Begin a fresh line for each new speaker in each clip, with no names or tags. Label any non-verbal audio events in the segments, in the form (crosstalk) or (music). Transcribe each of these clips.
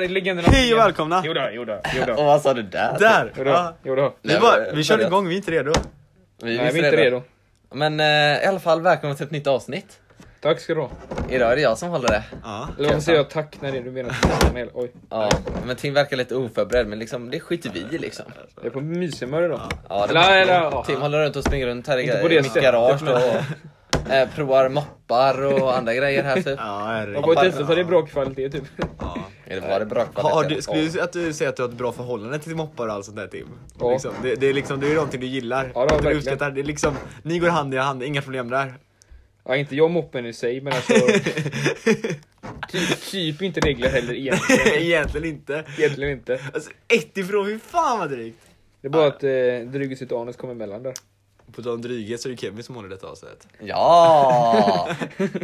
Legenderna
Hej och välkomna!
Jo då, jo då, jo
Och
då.
vad sa du där?
Där!
Jo
Ja.
då, jo då.
Vi, bara, vi kör igång, vi är inte redo.
Vi,
Nej, vi är inte redo.
Men eh, i alla fall, välkomna till ett nytt avsnitt.
Tack ska du ha.
Idag är det jag som håller det.
Ja.
Eller varför säger jag tack när det är du menar att jag är Oj,
Ja, men Tim verkar lite oförberedd, men liksom, det skiter vi i liksom.
jag är på myshumör idag.
Ja, det
Eller, eller,
var-
ja.
Tim håller runt och springer runt här i,
Inte på det
i mitt
sättet,
garage då, och eh, provar moppar och andra grejer
(laughs)
här typ.
Ja,
Jag
herregud.
har gått ut och det är bra kvalitet typ.
Ja.
Eller var det bra
Har
kvalitet?
du, skulle du säga att du säger att du har ett bra förhållande till moppar och allt sånt där Tim?
Ja.
Liksom, det, det är liksom, det är någonting du gillar.
Ja, det har jag
att du
verkligen.
uppskattar. Det är liksom, ni går hand i hand, inga problem där.
(laughs) Ja, inte jag moppen i sig men
(laughs)
alltså. Typ, typ inte regler heller egentligen.
Egentligen inte.
Egentligen inte.
Alltså ett ifrån, fy fan vad drygt!
Det är bara att eh, dryget sitt anus kommer emellan där.
På tal om dryghet så är det Kevin som håller
(laughs)
detta avsnittet.
Ja,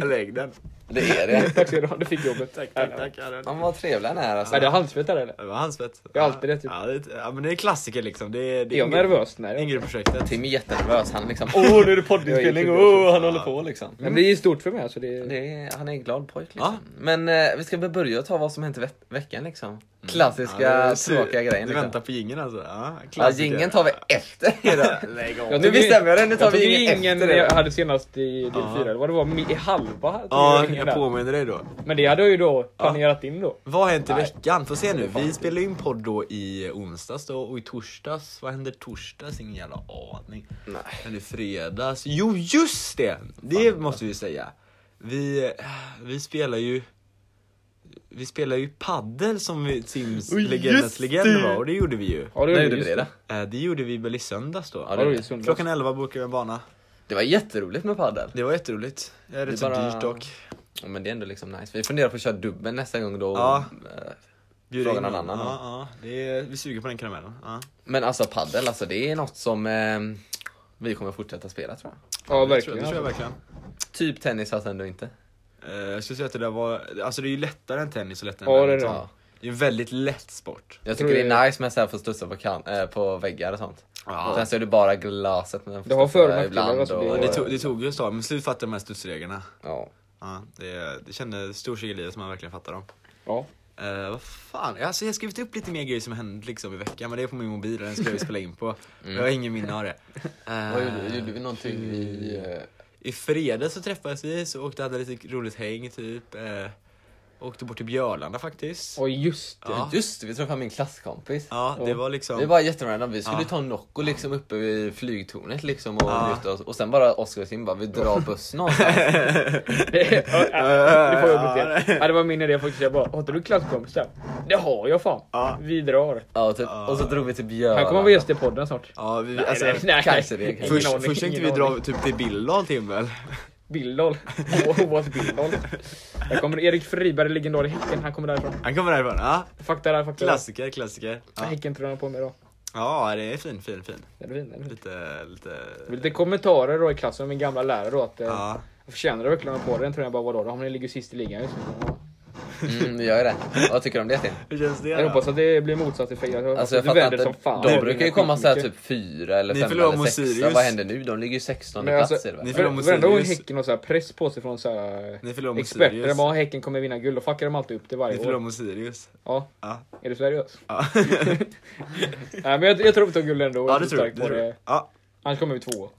Lägg den.
det är det.
Tack ska du ha, du fick jobbet.
Tack, tack, tack. Ja, den.
Men vad trevlig han är alltså.
Är det handsvett där eller?
Det var hans svett.
Jag har alltid det, typ.
Ja, det, ja men det är klassiker liksom. Det, är- det
Är jag
ingår-
nervös? Nej.
ingår i projektet.
Tim är jättenervös, han liksom Åh nu är det (laughs) poddinspelning,
Jag är jättenervös.
åh han håller på liksom.
Men det är stort för mig alltså. Det är...
Det är, han är en glad pojk liksom. Men eh, vi ska väl börja ta vad som hänt i ve- veckan liksom. Klassiska
Ja, det-
tråkiga grejen
Du
liksom.
väntar på jingeln alltså? Ja,
Ja,
klassiker.
jingeln tar vi
(laughs)
efter idag. (laughs)
Lägg av.
Jag
Nu
tog ju-
bestämmer jag det, nu tar
jag
vi
tog ju
ingen
ingen
efter det.
jag hade senast i del
Ja.
4, vad det var, mi- i halva tog
Ja,
jag ingen
jag
där.
påminner dig då.
Men det hade jag ju då planerat in då.
Vad har hänt i veckan? Får se nu. Vi spelade in podd då i onsdags då, och i torsdags. Vad hände torsdags? Ingen jävla aning.
Nej.
Eller fredags. Jo, just det! Det måste vi säga. Vi, eh, vi spelar ju... Vi spelar ju paddel som vi- Sims
Oj,
legendens
just
legend
det!
var och det gjorde vi ju.
Ja, det
När
gjorde
gjorde
vi
vi
just
det då?
Eh, Det gjorde vi väl i söndags då?
Ja,
Ja, det gjorde vi i söndags.
Klockan 11 bokade vi en bana.
Det var jätteroligt med padel.
Det var jätteroligt. Det är rätt så
bara-
dyrt dock.
Ja, men det är ändå liksom nice. Vi funderar på att köra dubbel nästa gång då.
Ja.
Eh,
Bjuda
Fråga
in
någon
någon.
annan
Ja, ja. Det är, vi suger på den karamellen. Ja.
Men alltså padel, alltså det är något som eh, vi kommer fortsätta spela tror jag.
Ja,
Det tror jag,
verkligen.
det tror jag
alltså.
verkligen.
Typ tennis fast ändå inte.
Eh, jag skulle säga att det där var, alltså det är ju lättare än tennis och lättare
Ja,
än
det är
badminton.
Ja.
Det är en väldigt lätt sport.
Jag
tror
tycker det
det
är nice med så här för att studsa på, kan- eh, på väggar och sånt.
Ja.
Sen så är det bara glaset man får
Det har
studsa
för- och nackdelar,
ibland
alltså, det
och-
är-
Det tog, det tog ju ett tag, men slut fattade jag de här studsreglerna.
Ja.
Ja, det, det kände storsig i livet som man verkligen fattar dem.
Ja.
Eh, vad fan, alltså jag har skrivit upp lite mer grejer som hänt liksom i veckan men det är på min mobil och den ska jag ju spela in på. Jag har ingen minne av det. Eh,
Vad gjorde, gjorde vi någonting i... eh,
I fredags så träffades vi så åkte hade lite roligt häng typ. Eh, åkte bort till Björlanda faktiskt.
Och just det.
Ja.
eh, Just det, vi träffade min klasskompis.
Ja, det
Ja.
var liksom...
Vi var jätterandom, vi skulle
Ja.
ta en Nocco liksom uppe vid flygtornet liksom och
Ja.
njuta oss. Och sen bara Oskar och Tim bara, vi drar bussen någonstans. (laughs)
Det, ja, (laughs) ja, det får jag jobbigt till. Ja, det var min idé faktiskt. Jag bara, har inte du klasskompisar? Det har jag fan.
Ja.
Vi drar.
ja, typ. Och så drog vi till Björn.
Han kommer vara gäst i podden snart.
Ja, vi, alltså,
nej, nej.
kanske det, kanske.
Först,
Ingen aning,
först tänkte vi
ingen
dra
aning.
typ till Billdal Tim väl?
Bildal. (laughs) Åhs Bildal. Där kommer Erik Friberg, legendar i Häcken. Han kommer därifrån.
Han kommer därifrån, ja.
Fakta där, fakta där.
Klassiker, klassiker. Ja,
Häckentröjan på mig då.
ja det är fin, fin, fin.
Är det fin? Är det fin?
Lite, lite...
Lite kommentarer då i klassen av min gamla lärare då att ja.
Ja.
förtjänar du verkligen att ha på dig den tröjan? Jag bara vadå? då? Ja, men ni ligger ju sist i ligan just nu. Ja.
Mm, vi gör ju det. Vad tycker du om det Tim?
Hur känns det
Jag
då?
hoppas att det blir motsatt effekt. Jag hoppas
Alltså
att
jag
du vänder
fattar
som
inte.
fan.
De
Det
brukar ju
vinner
komma såhär
skitmycket.
typ fyra eller
Ni
femma
förlorar
eller
mot
sexa.
Sirius.
Vad händer nu? De ligger ju 16
Men
plats
alltså,
är det väl?
Ni förlorar mot
Varenda gång
Sirius.
Häcken har så här press på sig från så här
Ni förlorar mot
experter.
Sirius.
De bara Häcken kommer vinna guld. Då fuckar de alltid upp det
Ni
varje
förlorar
år.
mot Sirius.
Ja,
Ja.
är du seriös?
Ja.
(laughs) Nej men jag, jag tror vi tar guld ändå. Jag
ja,
är
det
så
tror
stark
jag. Det
på
tror jag.
det.
Ja.
Annars kommer vi två.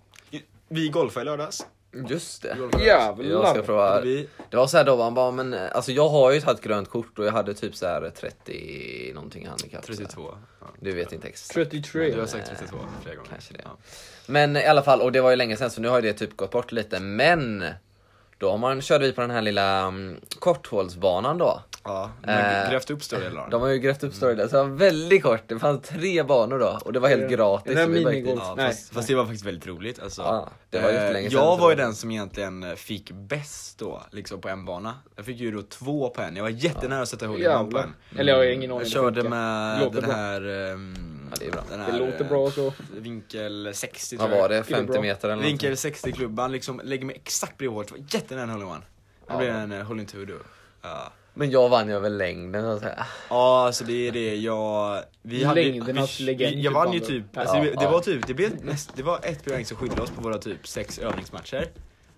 Vi golfade i lördags.
Just det. Jag ska
Jävlar.
prova.
Vi,
Det var såhär då han bara, men eh, alltså jag har ju tagit grönt kort och jag hade typ såhär 30 någonting handikapp. så här.
32. Ja.
Du vet inte exakt.
33.
Du har sagt 32 flera gånger.
Eh, Kanske det.
Ja.
Men i alla fall, och det var ju länge sedan så nu har ju det typ gått bort lite. Men då har man, körde vi på den här lilla mm, korthålsbanan då.
ja.
Eh,
Men grävt upp större delar.
De har ju grävt upp storyn där, så det
Mm.
var väldigt kort. Det fanns tre banor då och det var helt
Ja.
gratis.
Den där
så vi bara gick
minigolf-
dit.
Ja,
Nej,
fast, fast det var faktiskt väldigt roligt alltså.
Ja, det var ju
Eh,
länge sedan,
Jag
så
var ju
det-
den som egentligen eh, fick bäst då, liksom på en bana. Jag fick ju då två på en, jag var jättenära att sätta hål på
Jävlar.
en.
Eller jag har ingen aning.
Jag
det
körde
funkar.
med
Låter
den
bra.
här, ehm,
Ja, det är bra.
den här
Det låter
eh,
bra så.
vinkel 60
Vad
tror jag.
var det?
Gick det
50
bra?
meter eller någonting?
Vinkel 60 klubban, liksom lägger mig exakt bredvid hålet, Det var jättenära en hole in one. Det
Ja.
blev en eh, hole in two då. Ja,
Men jag vann ju över längden. Så att säga.
Ja, alltså det är det jag... Vi hade,
Längdernas
vi,
legend,
vi, Jag vann ju
typ
typ,
vann
alltså,
då.
det,
Ja,
det var typ, det, blev näst, det var ett poäng som skilde oss på våra typ sex övningsmatcher.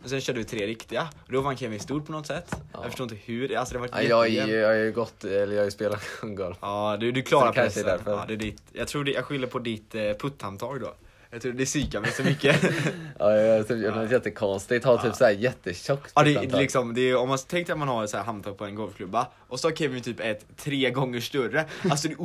Och sen körde vi tre riktiga. Och då vann Kevin stort på något sätt. Jag förstår inte hur. Alltså det var
Ja, jag har ju, jag har ju gått, eller jag har ju spelat (laughs) golf.
Ja, du, du klarar
Så det kanske är
pressen.
därför.
ja, det är ditt, jag tror det, jag skyller på ditt eh, putthandtag då. Jag tror det psykar mig så
(laughs)
mycket.
Ja, jag har typ gjort något jättekonstigt, har typ såhär jättetjockt typ
ja, det, det,
putthandtag.
är liksom, det är, om man tänker att man har ett så här handtag på en golfklubba och så har Kevin typ ett tre gånger större. Alltså det är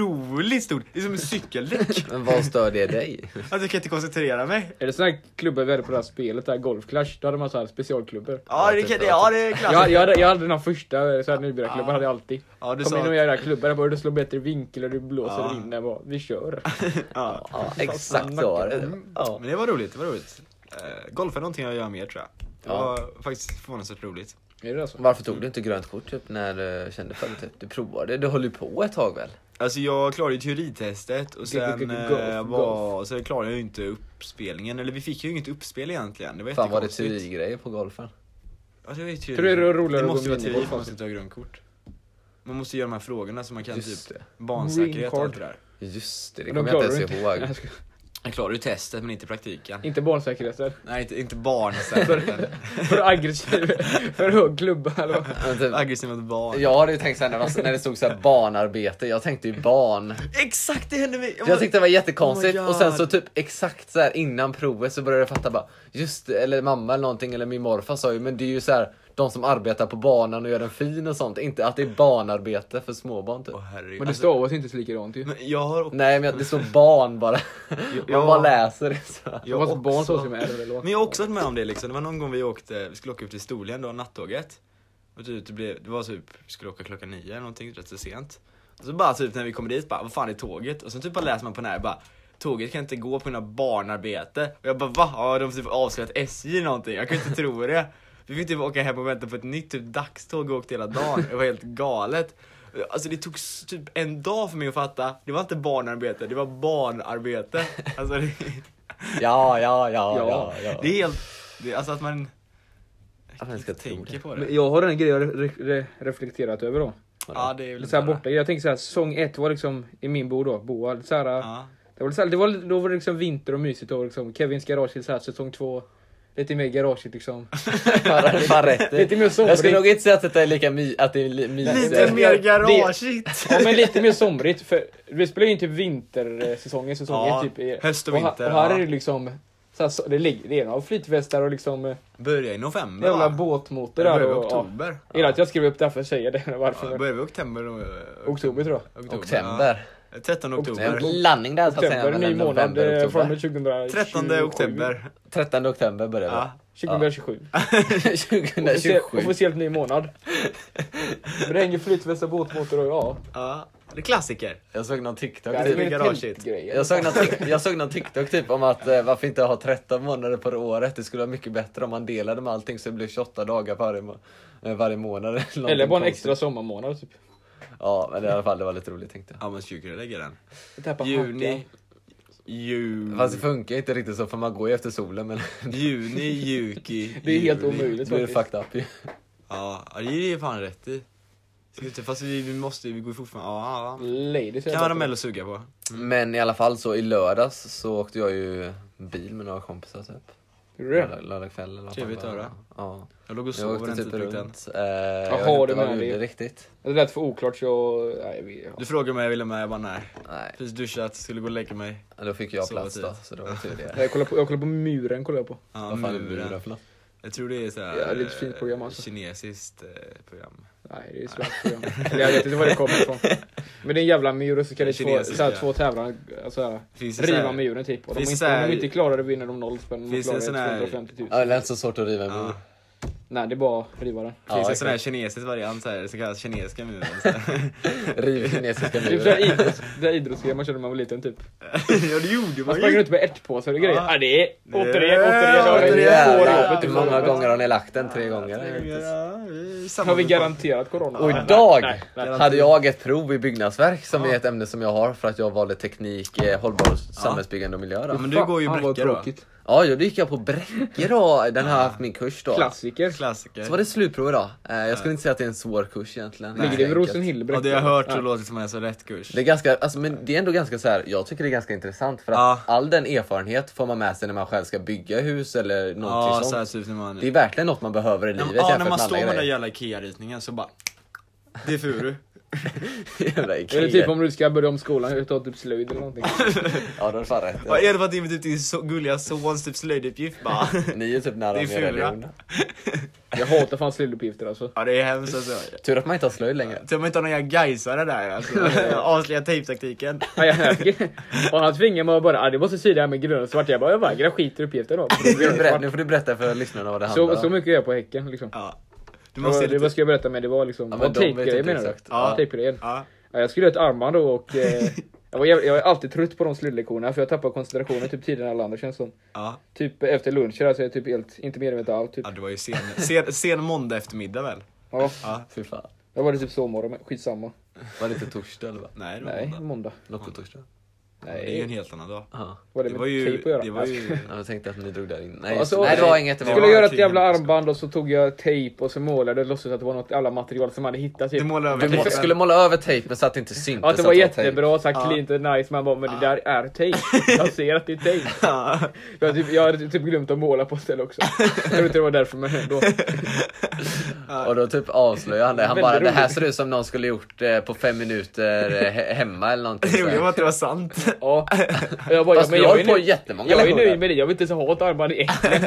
otroligt stort. Det är som en cykeldäck.
Men vad stör det dig?
Alltså jag kan inte koncentrera mig.
Är det såna här klubbor vi hade på det här spelet, där Golf Clash? Då hade man så här specialklubbor.
Ja, det,
typ,
kan, det,
ja,
ja, det är
Jag,
klassiskt.
jag, hade, jag hade den här första eh, så här nybörjarklubban,
Ja.
hade jag alltid.
Ja, du
Kom
sa
in och
att-
gör era klubbar, jag bara du slår bättre vinkel och du blåser
Ja.
och vinner. Jag bara, vi kör.
(laughs) Ja.
(laughs) Ja, exakt så var det. Ja.
Men det var roligt, det var roligt. Eh, golf är någonting jag gör mer tror jag. Det
Ja.
var faktiskt förvånansvärt roligt.
Är det alltså? så?
Varför tog du inte grönt kort typ när du kände för det? Typ? Du provade, du höll ju på ett tag väl?
Alltså jag klarade ju teoritestet och
Det är
sen
mycket
eh,
golf,
var, så klarade jag ju inte uppspelningen, eller vi fick ju inget uppspel egentligen. Det var
Fan var det
jättekonstigt.
teorigrejer på golfen?
Ja, det var ju teori.
Tror du det är roligare att
det
gå alltså?
måste vara
minigolf
teori för
faktiskt?
man måste inte ha grönkort. Man måste göra de här frågorna så man kan typ
Just det.
Green
barnsäkerhet och
card.
allt det där.
Just det, det
Men
kommer
de
jag
klarar
inte ens
(laughs)
ihåg.
Jag skojar.
Jag klarade ju testet men inte praktiken.
Inte barnsäkerheter.
Nej inte,
(laughs)
inte barnsäkerheten.
För aggressiv, (laughs) för hög klubba eller vad?
Men typ,
Aggressiv mot barn.
jag hade ju tänkt såhär när, man- när det stod såhär barnarbete, jag tänkte ju barn.
Exakt det hände mig!
Jag tyckte det var jättekonstigt
Oh my
och sen så
God.
typ exakt så här innan provet så började jag fatta bara just det, eller mamma eller någonting eller min morfar sa ju men det är ju så här de som arbetar på banan och gör den fin och sånt, inte att det är barnarbete för småbarn typ.
Åh, herregud.
Men det
Alltså,
stavas ju inte så likadant ju.
men jag har också...
Nej men jag- det står barn bara. Man bara läser det så. här.
Det
Jag
var ett barn
också-
som med eller vad?
Men jag har också varit med om det liksom, det var någon gång vi åkte, vi skulle åka upp till Storlien då, nattåget. Och typ, det, blev, det var typ, vi skulle åka klockan nio eller någonting, rätt så sent. Och så bara typ när vi kommer dit bara, vad fan är tåget? Och sen typ bara läser man på den här bara, tåget kan inte gå på grund av barnarbete. Och jag bara va? Ja de har typ avslöjat SJ eller någonting, jag kan inte tro det. Vi fick typ åka hem och vänta på ett nytt typ dagståg och åkte hela dagen, det var helt galet. Alltså det tog s- typ en dag för mig att fatta, det var inte barnarbete, det var barnarbete. Alltså det...
Ja, ja, ja, ja.
Ja,
ja,
Det är helt, det, alltså att man
Att man ska tro
tänker
det.
på det.
Men jag har en grej jag re re reflekterat över då.
ja, det är väl
Så här
bara-
borta. Jag tänker så här, säsong ett var liksom i min bo då, Boa. Så här,
Ja.
det var, så här, det var, då var det liksom vinter och mysigt. Då var det liksom Kevins garage i så här, säsong två. Lite mer garageigt
(laughs)
liksom.
Bara- bara rätt i.
Lite mer somrigt.
Jag skulle nog inte säga att det är lika my- att det är li- mysigt.
Lite mer
Det-
garageigt!
Ja men lite mer somrigt. För vi spelar ju in typ vintersäsongen, säsong
Ja,
ett typ. i-
höst och
här-
vinter,
Och här
ja.
är det liksom, så här, så, det ligger det är några flytvästar och liksom eh,
Börja i november
jävla
va?
båtmotor
Det börjar
där.
vi i
Och, ja.
oktober.
Jag gillar att jag skrev upp det här för att säga det. (laughs)
Ja,
Varför?
det börjar vi i oktober och... eh,
Oktober tror jag.
Oktober.
Ja. 13
Det är en
oktober.
blandning där så att säga
September, ny
mellan
månad
november och
eh, från och
oktober.
med 2027.
13 oktober.
13 oktober börjar vi. (laughs)
Ja.
2027. Officiell-
2027.
Officiellt ny
(laughs)
månad. Men det hänger flytvästar, båtmotor och ja.
ja. Det är klassiker.
Jag såg någon TikTok.
Det
det är
är mer
garaget.
tältgrejer.
Jag såg, någon tik- jag såg någon TikTok typ om att eh, varför inte ha 13 månader på året? Det skulle vara mycket bättre om man delade med allting så det blev 28 dagar varje, må- eh, varje månad.
Eller
(laughs) någonting
bara en
konstigt.
extra sommarmånad typ.
Ja, men i alla fall det var lite roligt tänkte jag.
Ja men skulle kunna lägga den.
Jag tappar
Juni.
hakan.
Juni.
Fast det funkar inte riktigt så för man går ju efter solen men
Juni, Juki,
Det är helt
juli.
omöjligt
(laughs) det är
faktiskt.
fucked up ju.
Ja, ja, det är ju fan rätt i. Ska inte- Fast vi vi måste ju, vi går ju fortfarande... Ja, ja.
Ladies
ja. Karamell att suga på.
Men i alla fall så i lördags så åkte jag ju bil med några kompisar typ.
Röd.
Lördag, lördag kväll eller vad fan
Trevligt
det var.
att höra.
Ja.
Jag låg och
Jag
sov på
åkte
den
typ
tidpunkten.
runt. Eh, jag
Jaha,
vet
du
inte vad jag
menar det.
gjorde riktigt.
Det lät för oklart så jag... Nej, jag vet-
Du frågade mig om jag ville med, jag bara nej.
Nej,
Precis duschat, skulle gå och lägga mig.
då fick jag
Så
plats
tid.
då så det var tur
(laughs)
det.
Jag kollar på, jag kollar på muren. Kollar jag på.
Ja,
Vad fan är
muren.
muren för något?
Jag tror det är såhär...
Ja, det är ett fint program alltså.
Kinesiskt eh, program.
Nej, det är ett svenskt program. (laughs) Eller jag vet inte var det kommer ifrån. Men det är en jävla mur och så ska det två,
Kinesiska.
så här, två tävlande alltså,
Finns det så
riva
här-
muren typ. Och de,
finns det
inte,
så här-
om de inte klarar det vinner de noll spänn. Om de
Finns det
klarar det
sån här-
250 000.
Ja, det är inte så svårt att riva en mur.
Ja.
Nej, det är bara att riva den.
Ja,
Finns det en
exakt.
sån här kinesisk variant såhär, som kallas kinesiska muren? så här.
Riv
(laughs)
kinesiska
Det är så här
muren.
idrotts- det här idrottsgrejer man körde när man var liten typ.
ja det gjorde
Man
man
sprang
ju!
runt med ärtpåsar och grejer.
Ja.
Ja, det är återigen,
Ja,
återigen, återigen.
Jävlar,
återigen.
hur många gånger har ni lagt den? Tre
Ja,
gånger?
vi- samma
Har vi
för-
garanterat corona?
Och
Nej,
idag
nej, nej.
hade jag ett prov i byggnadsverk som är ett ämne som jag har för att jag valde teknik, eh, hållbar samhällsbyggande och miljö.
Ja,
Då.
men du går ju
Fan, vad
Bräcke då.
tråkigt.
Ja, då gick jag på Bräcke då. Den har haft min kurs då.
Klassiker.
klassiker.
Så var det slutprov idag. Eh, jag skulle inte säga att det är en svår kurs egentligen.
Ligger
Ganska
det vid
enkelt.
Rosenhill?
Ja,
Berätta.
det jag har hört så
Ja.
låter det som en så rätt kurs.
Det är ganska, alltså, men det är ändå ganska så här, jag tycker det är ganska intressant för att
Ja.
all den erfarenhet får man med sig när man själv ska bygga hus eller någonting
Ja, så här
sånt.
typ när man...
Det är verkligen något man behöver i
när,
livet
ja,
jämfört
när man
med
står
alla
med den där
grejer.
jävla IKEA-ritningen så bara... Det är furu.
(laughs) Jävla
Eller
Ikea.
typ om du ska börja om skolan, utav typ slöjd eller någonting.
Ja, du har fan rätt.
Vad är det för att det är typ din so- gulliga sons typ slöjduppgift bara?
Ni är typ nära
Det är
min
fula.
religion.
Jag hatar fan slöjduppgifter alltså.
Ja det är hemskt alltså.
Tur att man inte har
(laughs)
slöjd längre.
Tur man inte har några gaisare där alltså. Avslöja tejptaktiken.
Ja, jag- Och han tvingade mig att bara, ah, du måste sy det här med grön och svart. Jag bara, jag vägrar skit i uppgiften då.
Nu får du berätta- Nu får du berätta för lyssnarna vad det handlar
Så,
om.
så mycket är jag på Häcken liksom.
Ja. Du
Det var,
måste
det vad
lite...
ska jag berätta med? Det var liksom,
Ja,
ja,
men
vad
de vet
tejpgrejer
inte
menar du?
exakt.
Ja.
Ja.
Tejpgrejen.
Ja.
Ja, jag skulle göra ett armband då och
(laughs)
eh, jag, var jävla, jag är alltid trött på de slöjdlektionerna för jag tappar koncentrationen typ tidigare än alla andra känns det som.
Ja.
Typ efter lunch så är jag typ helt, inte medveten alls. Typ.
ja, det var ju sen, sen, sen måndag eftermiddag väl?
Ja,
Ja.
Fy fan.
jag var det typ sovmorgon, men skitsamma.
Var det inte torsdag eller? va?
Nej, det var
Nej,
måndag.
måndag.
Något på torsdag?
Det är ju en
Nej,
helt annan dag.
Ja.
var det,
Det var
med
ju...
tejp att göra?
Det var ju...
Ja, Jag tänkte att ni drog där in. Nej,
Alltså,
just- nej det
nej.
var inget. Det
Jag skulle
var...
jag-
göra ett jävla
tydligen-
armband och så tog jag tejp och så målade och låtsades att det var något alla material som man hade hittat. Typ.
Du målade över
Du må-
tejpen.
skulle måla över tejp men så att det inte syntes.
Ja, att det
att
var
tejp.
jättebra, så här cleant och nice, man bara men det där är tejp. Jag ser att det är tejp.
Ja. (laughs)
Jag, har typ, jag hade typ glömt att måla på ett ställe också. Jag tror inte det var därför men ändå.
Och då typ avslöjade han det. Han
Väldigt
bara, det här
roligt.
ser ut som någon skulle gjort eh, på fem minuter eh, he- hemma
(laughs)
eller någonting.
Jo,
Så
det var
här.
inte det var sant.
Ja. Jag bara,
Fast
men
vi
jag
har ju
är
på
nöjd-
jättemånga
Jag är
lektioner.
nöjd med det, jag vill inte ens ha ett armband egentligen.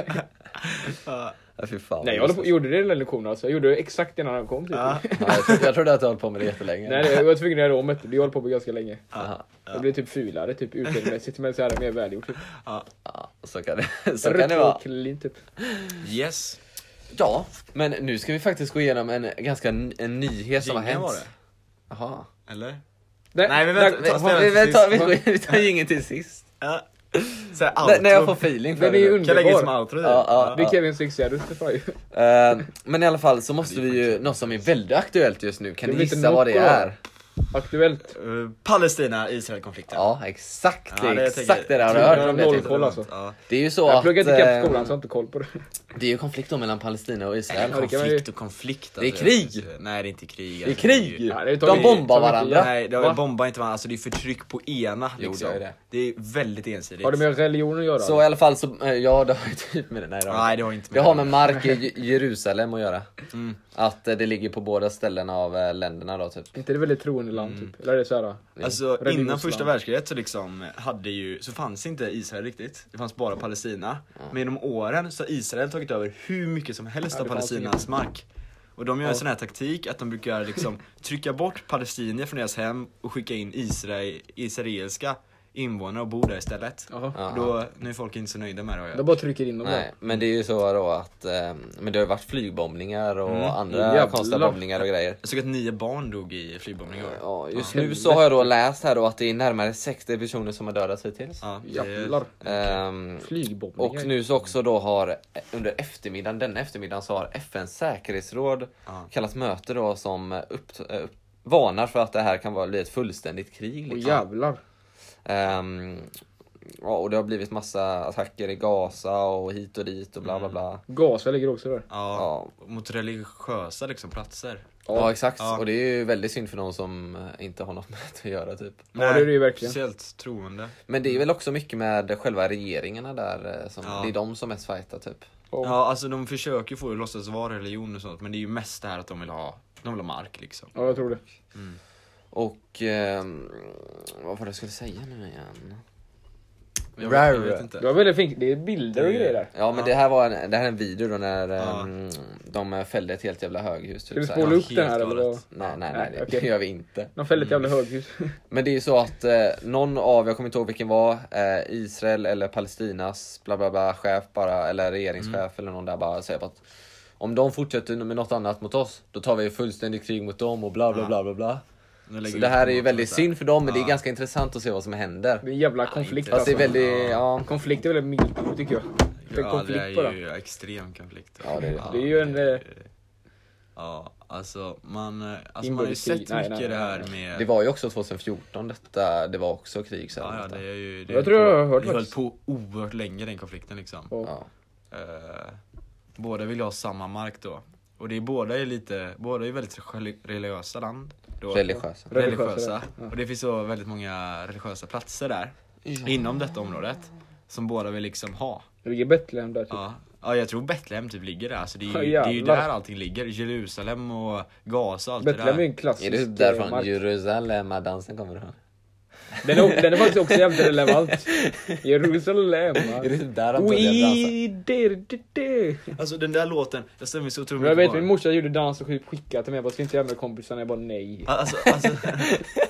Ja, fy fan.
Nej jag håller
(laughs)
på, gjorde det i den där lektionen alltså. Jag gjorde det exakt innan han kom typ.
Ja.
Ja, jag, trodde, jag trodde att du höll på med det
(laughs)
jättelänge.
Nej, det- jag var tvungen att göra om det. Vi höll på med ganska länge.
Aha.
Jag blev typ fulare typ utseendemässigt men så här mer välgjort. Typ.
Ja, så kan det, (laughs) så kan
Rött
det
och
vara.
clean typ.
Yes.
Ja, men nu ska vi faktiskt gå igenom en ganska ny, en nyhet som har
Jingeln
hänt.
var det.
Jaha.
Eller?
Nej,
Nej, men vänta,
där-
Vi,
Ta snälla
vi, vi,
till
tar,
sist.
vi, vi tar ingen till sist.
Ja. Såhär
När- när jag
outro.
får feeling för
Den är ju
det.
Kan jag lägga det som
underbar.
outro? typ?
Ja, ja.
Det är Kevins succérutter ju.
Eh, men i alla fall så måste vi ju, något som är väldigt aktuellt just nu, kan
Det
ni
blir lite
gissa vad det
Nocco.
är?
Aktuellt.
Eh, Palestina-Israel-konflikten.
Ja, exakt. Det
Ja,
är
det jag Typ
exakt
tänker.
det där. Har du
Jag
hört
tror
om
jag har
det?
noll koll.
Tim?
alltså.
Ja.
Det är ju så
Jag
att...
pluggar inte kapp
eh,
skolan så jag har inte koll på det.
Det är ju konflikt då mellan Palestina och Israel.
Ja, det kan man ju-
Konflikt och konflikt.
Det är
alltså.
krig.
Nej det är inte krig.
Det är
alltså.
krig!
ju-
Ja, det tar
De
vi-
bombar
tar vi inte
varandra.
Nej, det
Va?
är bomba inte man, alltså det är förtryck på ena
Jo,
liksom.
det är det.
är väldigt ensidigt.
Har det med religion att göra?
Så i alla fall så, eh, ja det har ju typ med det, nej, det, har
Nej
inte.
det har inte
det har med mark i Ju- Jerusalem att göra.
Mm.
Att eh, det ligger på båda ställena av eh, länderna då typ.
inte det väldigt troende land typ? Eller är det såhär?
Alltså
Religionsland.
innan första världskriget så liksom hade ju, så fanns inte Israel riktigt. Det fanns bara Palestina. Men genom åren så har Israel tagit över hur mycket som helst
Ja,
av
det fanns
Palestinas mark. Och de gör en sån här taktik att de
(laughs)
brukar liksom trycka bort palestinier från deras hem och skicka in Israel, israeliska invånare och bo där istället.
Jaha.
Ja.
Och Då, nu är folk inte så nöjda med det har jag
De bara trycker in dem
Nej,
där.
men det är ju så då att, eh, men det har ju varit flygbombningar och andra
Mm. Jävlar.
konstiga bombningar och grejer.
Jag såg att nio barn dog i flygbombning i år.
Ja, just nu så har jag då läst här då att det är närmare 60 personer som har dödats hittills.
Ja, det-
Jävlar.
Ehm,
Flygbombningar.
Och nu så också då har eh, under eftermiddagen, denna eftermiddagen så har FNs säkerhetsråd
Ja.
kallat möte då som upp, eh, upp, varnar för att det här kan vara, bli ett fullständigt krig.
Åh
Liksom.
jävlar.
Ehm, ja, och det har blivit massa attacker i Gaza och hit och dit och bla bla bla.
Gaser ligger också där.
Ja, mot religiösa liksom platser.
Ja, exakt.
Ja.
Och det är ju väldigt synd för någon som eh, inte har något (laughs) med det att göra typ.
Ja, det är det ju verkligen.
Speciellt troende.
Men det är väl också mycket med själva regeringarna där. eh, Som,
Ja.
Det är de som mest fightar typ.
Ja.
Ja, alltså de försöker ju få det att låtsas vara religion och sånt, men det är ju mest det här att de vill ha, de vill ha mark liksom.
Ja, jag tror det.
Och ehm, vad var det jag skulle säga nu igen?
Jag vet, jag
Rar.
vet
Det
inte.
var väldigt fint. Det är bilder och
Det-
grejer där.
Ja men
Ja.
det typ här var en, det här är en video då när
Ja.
ehm, de fällde ett helt jävla höghus.
Ska
Typ,
vi
så
spola
här.
upp den här
helt
eller? vad?
galet.
Nej nej nej,
Nej,
det, det
okej.
gör vi inte.
De fällde ett
Mm.
jävla höghus. (laughs)
Men det är ju så att eh, någon av, jag kommer inte ihåg vilken var, eh, Israel eller Palestinas bla bla bla chef bara, eller regeringschef
Mm.
eller någon där bara säger att om de fortsätter med något annat mot oss, då tar vi fullständigt krig mot dem och bla bla
Ja.
bla bla bla.
Nu lägger
Så
vi
det
ut
här är
på
ju
något
väldigt
sånt där.
synd för dem, men det är
Ja.
ganska intressant att se vad som händer.
Det är en jävla
Ja,
konflikt
inte.
Fast det är
alltså.
väldigt, ja.
Konflikt är väldigt milt ord, tycker jag. Det är en
Ja, det
konflikt bara.
är ju extrem konflikt.
Ja, det är det.
Det är ju en, eh,
Ja, alltså man, eh, alltså, man har ju
Inbördeskrig.
sett mycket
Nej, nej,
det här
nej,
med...
Det var ju också 2014 detta, det var också krig sen.
Ja, ja, det är ju, det
Jag tror jag har hört
Det höll
faktiskt.
på oerhört länge den konflikten liksom.
Ja.
Ja.
Eh, Båda vill ha samma mark då. Och det är båda är lite, båda är väldigt reli- religiösa land. Då.
Religiösa.
religiösa.
Religiösa, ja.
Och det finns så väldigt många religiösa platser där. Inom detta området. Som båda vill liksom ha.
Det ligger Betlehem där typ.
Ja. ja, jag tror Betlehem typ ligger där. Så det
Ja,
är ju, det är ju
jävlar.
där allting ligger. Jerusalem och Gaza och allt
Betlehem är ju
det
en klassisk
Är det
eh,
därifrån
mark.
Jerusalem-dansen kommer ifrån?
Den är, den är faktiskt också jävligt
(laughs)
relevant. Jerusalem.
Är det där han började dansa?
Oui, det, det, det.
där. Alltså den där låten, jag stämmer så otroligt
Men jag vet
på den.
min morsa gjorde dans och typ skickade till mig bara ska inte göra med kompisarna, jag bara nej.
Alltså,
(laughs)
alltså,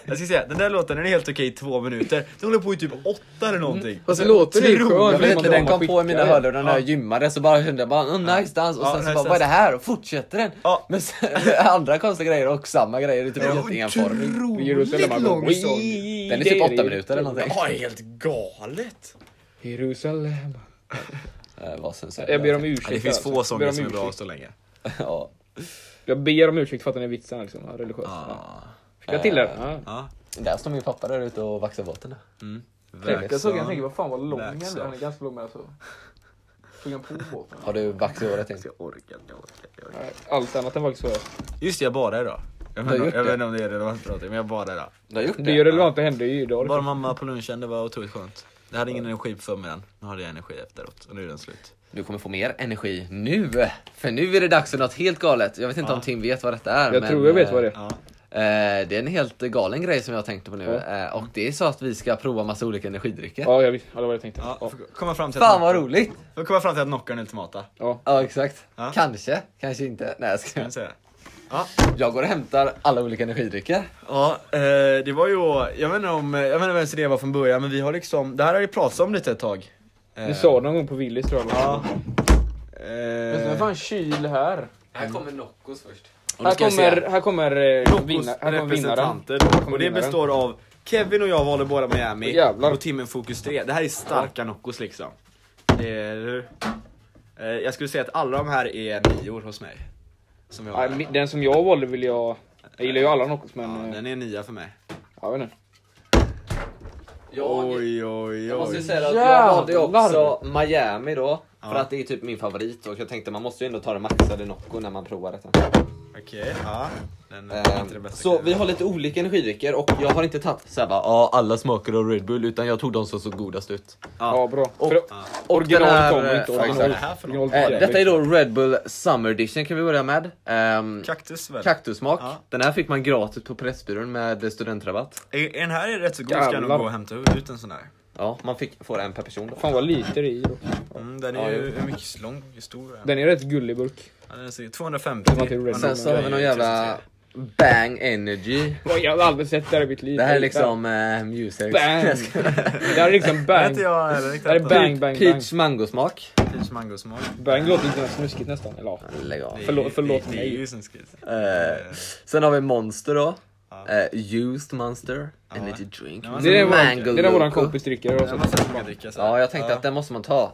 jag ska säga, den där låten den är helt okej i två minuter. Den håller på i typ åtta eller någonting.
Mm. Fast det låter ju
Otroligt.
skönt.
Jag vet inte, den kom på i mina
Skickar.
hörlurar när jag gymmade så bara kände jag bara oh, nice dans och
Ja,
sen så
nice
bara vad är det
dance.
här? Och fortsätter den.
Ja.
Men sen, andra konstiga grejer och samma grejer i typ
Den är
jätteenformig.
Jerusalem
Otroligt
bara,
lång
oui,
sång.
Den är typ
det
åtta minuter eller någonting.
Ja, helt galet.
Jerusalem.
Eh, Vad sensuellt.
Jag ber om ursäkt.
Ja, det finns
alltså. Jag
få
ber
sånger
om
som är bra
ursäkt.
så länge.
Ja.
Jag ber om ursäkt för att den är vitsen liksom, ja, religiös.
Ah,
Ja. Fick jag till
eh,
den? Ja.
Ja.
Där står min pappa där ute och vaxar båten.
Mm.
Jag såg jag tänker
Verksamt.
vad fan vad lång den
Verksamt.
är. Den är ganska lång men alltså. Tog han på båten?
Har du vax i håret? Tim?
Jag orkar inte, jag orkar inte, jag orkar
Nej, Allt annat än faktiskt så.
inte. Just det, jag badade idag. Jag
Du har
vet,
gjort
jag
det?
vet inte om det är relevant för någonting, men jag badade idag.
Du har gjort
Det är ju relevant, det hände ju idag.
Bara
liksom.
mamma på lunchen, det var otroligt skönt. Jag hade ingen energi på förmiddagen, nu hade jag energi efteråt och nu är den slut.
Du kommer få mer energi nu. För nu är det dags för något helt galet. Jag vet inte om Tim vet vad detta är.
Jag
men,
tror jag vet vad det är.
Ja.
Eh, det är en helt galen grej som jag tänkte på nu.
Ja.
Eh, och det är så att vi ska prova massa olika energidrycker.
Ja, jag visste. Ja, det var det jag tänkte.
Ja,
Ja.
får komma fram till
Fan
att-
vad roligt!
Får komma fram till att Nocco är en ultimata. Kan
Ja.
Ja exakt.
Ja.
Kanske, kanske inte. Nej jag ska...
jag säga. Ja,
Jag går och hämtar alla olika energidrycker.
ja eh, det var ju, jag vet inte om, jag vet inte vems idé det var från början men vi har liksom, det här har vi pratat om lite ett tag. Eh,
Du sa det någon gång på Willys tror jag.
Ja.
Men sen är
Eh,
fan kyl här.
Här kommer Noccos först.
och då
Här
ska jag
kommer,
säga,
här kommer, eh,
Noccos
vinna, här kommer vinnaren.
representanter
kommer
och det
vinnaren.
består av Kevin och jag valde båda Miami
Jävlar.
och Timmen Fokus 3. Det här är starka Noccos liksom. Det är, eh, jag skulle säga att alla de här är nior hos mig. Som jag har.
Ja, mi- Den som jag valde vill jag... Jag gillar ju alla Noccos
ja,
men... eh,
den är nia för mig.
Jag vet inte.
Jag,
Oj oj
jag måste ju
oj.
säga att jag
Jävlar.
valde också Miami då.
Ja.
För att det är typ min favorit och jag tänkte man måste ju ändå ta det maxade Nocco när man provar detta.
Okej, ja. Den är inte det
Ehm,
bästa
så
Kevin.
vi har lite olika energidrycker och jag har inte tagit såhär bara ja alla smaker av Red Bull utan jag tog de som såg godast ut.
Ja.
Ja, bra.
Och-
För
ja.
den
originalet
här,
kommer
eh,
inte.
Vad är det
Originalet.
här för något?
originalet
Eh,
kommer.
detta är då Red Bull Summer Edition kan vi börja med. Ehm,
Kaktus väl?
Kaktussmak.
Ja.
Den här fick man gratis på Pressbyrån med studentrabatt.
Är- är den här är rätt så god ska jag nog
Jävlar.
gå och hämta ut en sån här.
Ja, man fick, får en per person då.
Fan vad lite det är i då.
Mm, den är
Ja,
ju hur mycket lång, hur stor är den?
Den är rätt gullig burk.
Ja, den är så- 250.
Det var till Red
Och
Sen
Bull.
den
så har vi någon jävla Bang Energy.
Oj, Jag har aldrig sett det här i mitt liv.
Det här är liksom eh, music.
Bang! Det här är liksom
Det är
bang.
inte
Det
jag heller riktigt.
här är bang, bang, bang.
Peach mangosmak.
Peach mangosmak.
Bang låter lite snuskigt nästan. Eller ja.
Alltså,
Lägg av.
Det är-
Förlåt- förlåt
det, det är
mig.
ju snuskigt.
Eh, sen har vi Monster då.
Ja.
Eh, used Monster.
Ja.
Energy drink.
Ja, men
Det är
Mango
våran- det är våran
Loco.
kompis dricker.
Den
Alltså.
måste jag försöka dricka sen.
Ja, jag tänkte att den måste man ta.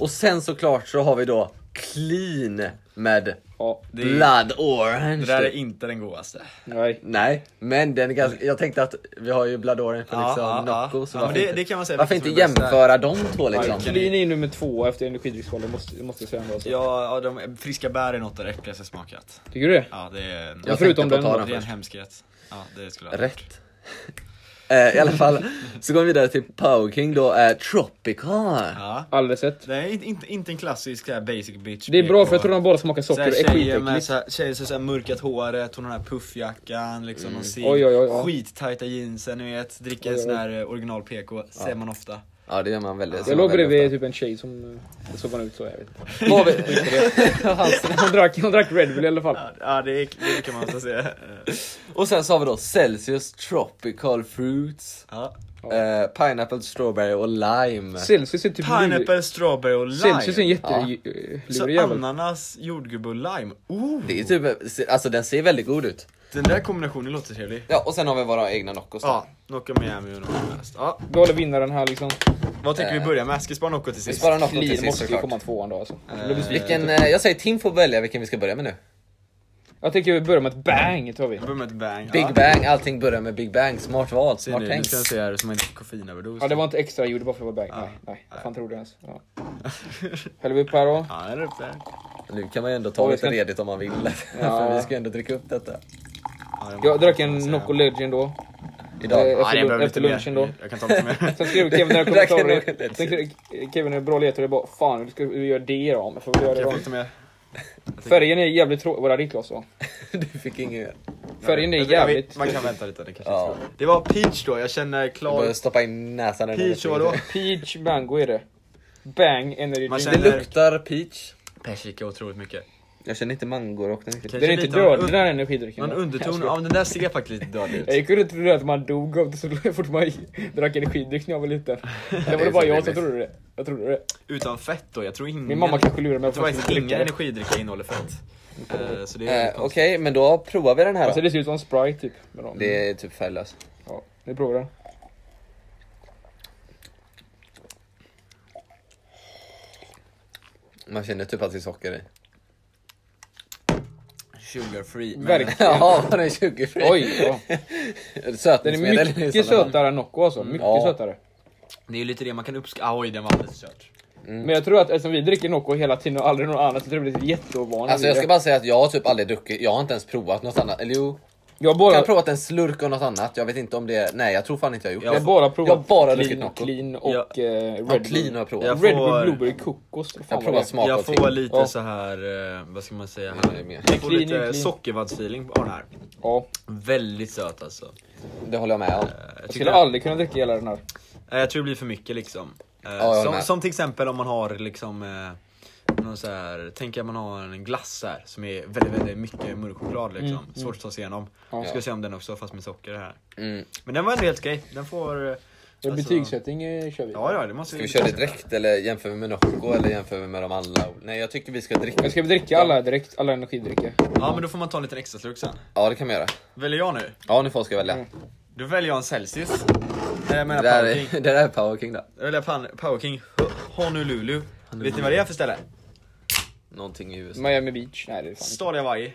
Och sen såklart så har vi då Clean med
Ja,
Det är-
Blood Orange.
Det där är inte den godaste.
nej.
Nej, men den är ganska, jag tänkte att vi har ju Blood Orange för
Ja,
liksom
ja, ja.
Nocco. Så
Ja, men det-
varför inte,
det kan man säga
varför inte
vilket som är bäst
jämföra de två liksom?
Verkligen.
Clean är ju nummer två efter energidrycksvalen, måste, måste jag säga ändå. Alltså.
Ja, ja, de, friska bär är något av det äckligaste jag smakat.
Tycker du det?
Ja, det är en,
Jag
förutom
tänkte på
den
att
då.
ta
det är
den
en
först.
hemskhet. Ja, det skulle jag
Rätt. (laughs) Eh, I alla fall, så går vi vidare till Power King då, eh, Tropical.
Ja.
Aldrig sett.
Det är inte, inte, inte en klassisk så här basic bitch.
Det är bra för jag
PK.
tror de bara smakar
Så
socker,
här
det är
tjejer med
skitäckligt.
så här, tjejer som så här mörkat håret, hon har den här puffjackan, liksom mm. ser
Oj, oj, oj, ja.
skittajta jeansen, ni vet. Dricker
Oj, oj,
sån här eh, original PK, ser man ofta.
Ja det gör man väldigt
Jag låg bredvid typ en tjej som eh, såg man ut så, jag vet inte. (laughs)
bredvid.
Hon drack, hon drack Red Bull i alla fall.
Ja det, är, det kan man också säga.
Och sen så har vi då Celsius Tropical Fruits.
(laughs) ja.
Eh, pineapple, strawberry och lime.
Celsius är typ...
Pineapple, strawberry och
lurig- Celsius är en
lime. Så
jättelurig jävel.
ananas, jordgubbe och lime. Oh,
Det är typ, alltså den ser väldigt god ut.
Den där kombinationen låter trevlig.
Ja och sen har vi våra egna Noccos då.
Ja, Nocco Miami och Nocco Mast. Ja,
Då håller vinnaren här liksom.
vad tänker vi
Eh.
börja med? Ska vi spara Nocco till
Vi
sist?
sparar Nocco till
Clean
sist
måste ju komma
såklart.
tvåan då alltså.
Eh,
Jag blir besviken.
Vilken, eh, jag säger Tim får välja vilken vi ska börja med nu.
Jag tänker vi börjar med ett bang tar vi.
Vi börjar med ett bang.
Big
ja.
Bang, allting börjar med Big Bang. Smart val,
Se
smart
nu, nu
tänkt.
ska jag se här som en koffeinöverdos.
Ja
(laughs)
det var inte extra
Ah,
ljud bara för att det var bang.
Ja.
Nej, nej. Vad fan tror du ens? Ja. Häller vi upp här då.
Ja, den är uppe.
Nu kan man ju ändå ta
Oj,
lite
ska-
ledigt om man vill. (laughs) För vi ska ju ändå dricka upp detta.
Jag drack en
Alltså,
Nocco Legend då.
Idag.
Eh,
Ja,
efter
det
lun-
behöver
efter
lite
lunchen
mer.
då.
Jag kan
(laughs)
ta lite mer.
Sen
(laughs)
skrev Kevin några
Där kan
kommentarer.
du-
Sen skrev Kevin en bra ledtråd och bara fan hur ska vi göra det då? Men får vi göra det
Jag
då?
får lite mer. alltså-
Färgen är jävligt tråkig. Var det ditt glas va?
(laughs) Du fick inget.
alltså. Färgen är
Jag tror- jag vet-
jävligt
Man kan vänta lite, det kanske
Ja.
inte- Det var peach då, jag känner
Du
klar...
började stoppa in näsan. i den här
eh, Peach
(laughs)
var då?
Peach mango är det. Bang energy
Man
drink.
känner-
Det luktar peach.
Persika otroligt mycket.
Jag känner inte mangorakten riktigt.
Den är inte
lite av en
död
un-
den här energidrycken.
Någon
va?
underton,
Jag
ja
skojar.
men den där ser faktiskt lite död
(laughs)
ut.
Jag gick runt och trodde att man dog av det så (laughs) fort man drack energidryck när jag var
(laughs)
liten. Det var
är
det bara
så
jag som
rimligt.
trodde det. Jag trodde det.
Utan fett då, jag tror ingen...
Min mamma kanske lurar mig
Mm. Jag
att
tror
jag
faktiskt
skulle dricka
ingen
det.
energidricka innehåller fett. Eh, Så det är
Eh,
lite
Okej,
konstigt.
men då provar vi den här
Alltså
då.
det ser ut som Sprite typ. Med dem.
Det är typ färglös.
Ja, vi provar den.
Man känner typ att det är
(laughs)
socker i.
Sugar free. Men
Verkligen.
Jaha, den är 20 fri.
Oj! Ja. Den
Sötningsmedel.
är
i
mycket
sådana fall.
sötare än Nocco alltså. Mycket
liksom. Ja.
sötare.
det är ju lite det man kan uppskatta. Oj, den var alldeles kört.
Men jag tror att eftersom vi dricker Nocco hela tiden och aldrig något annat så tror jag det blir jätteovanligt.
Alltså jag ska bara säga att jag har typ aldrig druckit, jag har inte ens provat något annat. Eller jo,
jag har
jag
bara,
har provat en slurk och något annat. Jag vet inte om det, nej jag tror fan inte jag har gjort
jag har
det.
bara provat
jag har bara druckit
clean,
Nocco.
clean och
Jag-
eh,
Ja,
Red Bull.
clean har jag provat.
Jag
Red
får-
Bull Blueberry kokos. vad
Jag
fan
har
var
provat
det?
smak
jag
och ting.
får lite
Ja.
så här, eh, vad ska man säga?
Det är mer.
Jag får
Clean,
lite
clean.
sockervaddfeeling på den här.
Ja.
Väldigt söt alltså. Eh,
Det håller jag med om.
Jag,
Jag
tycker
skulle
jag,
aldrig kunna dricka hela den här.
eh, jag tror det blir för mycket liksom. Eh,
jag håller
som,
med.
som till exempel om man har liksom eh, någon så här, tänk att man har en glass här som är väldigt, väldigt mycket mörk choklad liksom. Svårt att ta sig igenom.
Mm. Ja.
Vi ska se om den också fast med socker här.
Mm.
Men den var ändå helt okej. Den får... eh,
Alltså, Betygssättning eh, kör vi.
Ja, ja, det måste
Ska vi köra det direkt eller jämför vi med Nocco eller jämför vi med dem alla? Nej jag tycker vi ska dricka.
Men ska vi dricka alla direkt? Alla energidrycker?
Ja, men då får man ta en liten extra slurk sen.
Ja det kan vi göra.
Väljer jag nu?
Ja nu får ska välja.
Mm.
Då väljer jag en Celsius. Nej, jag menar
Det där,
Power King.
är, (laughs) det där är Power King då.
Jag väljer pan- Power King Ho- Honolulu. Vet ni vad det är för ställe?
Någonting i USA.
Miami Beach? Nej det är fan inte.
Stad i Hawaii.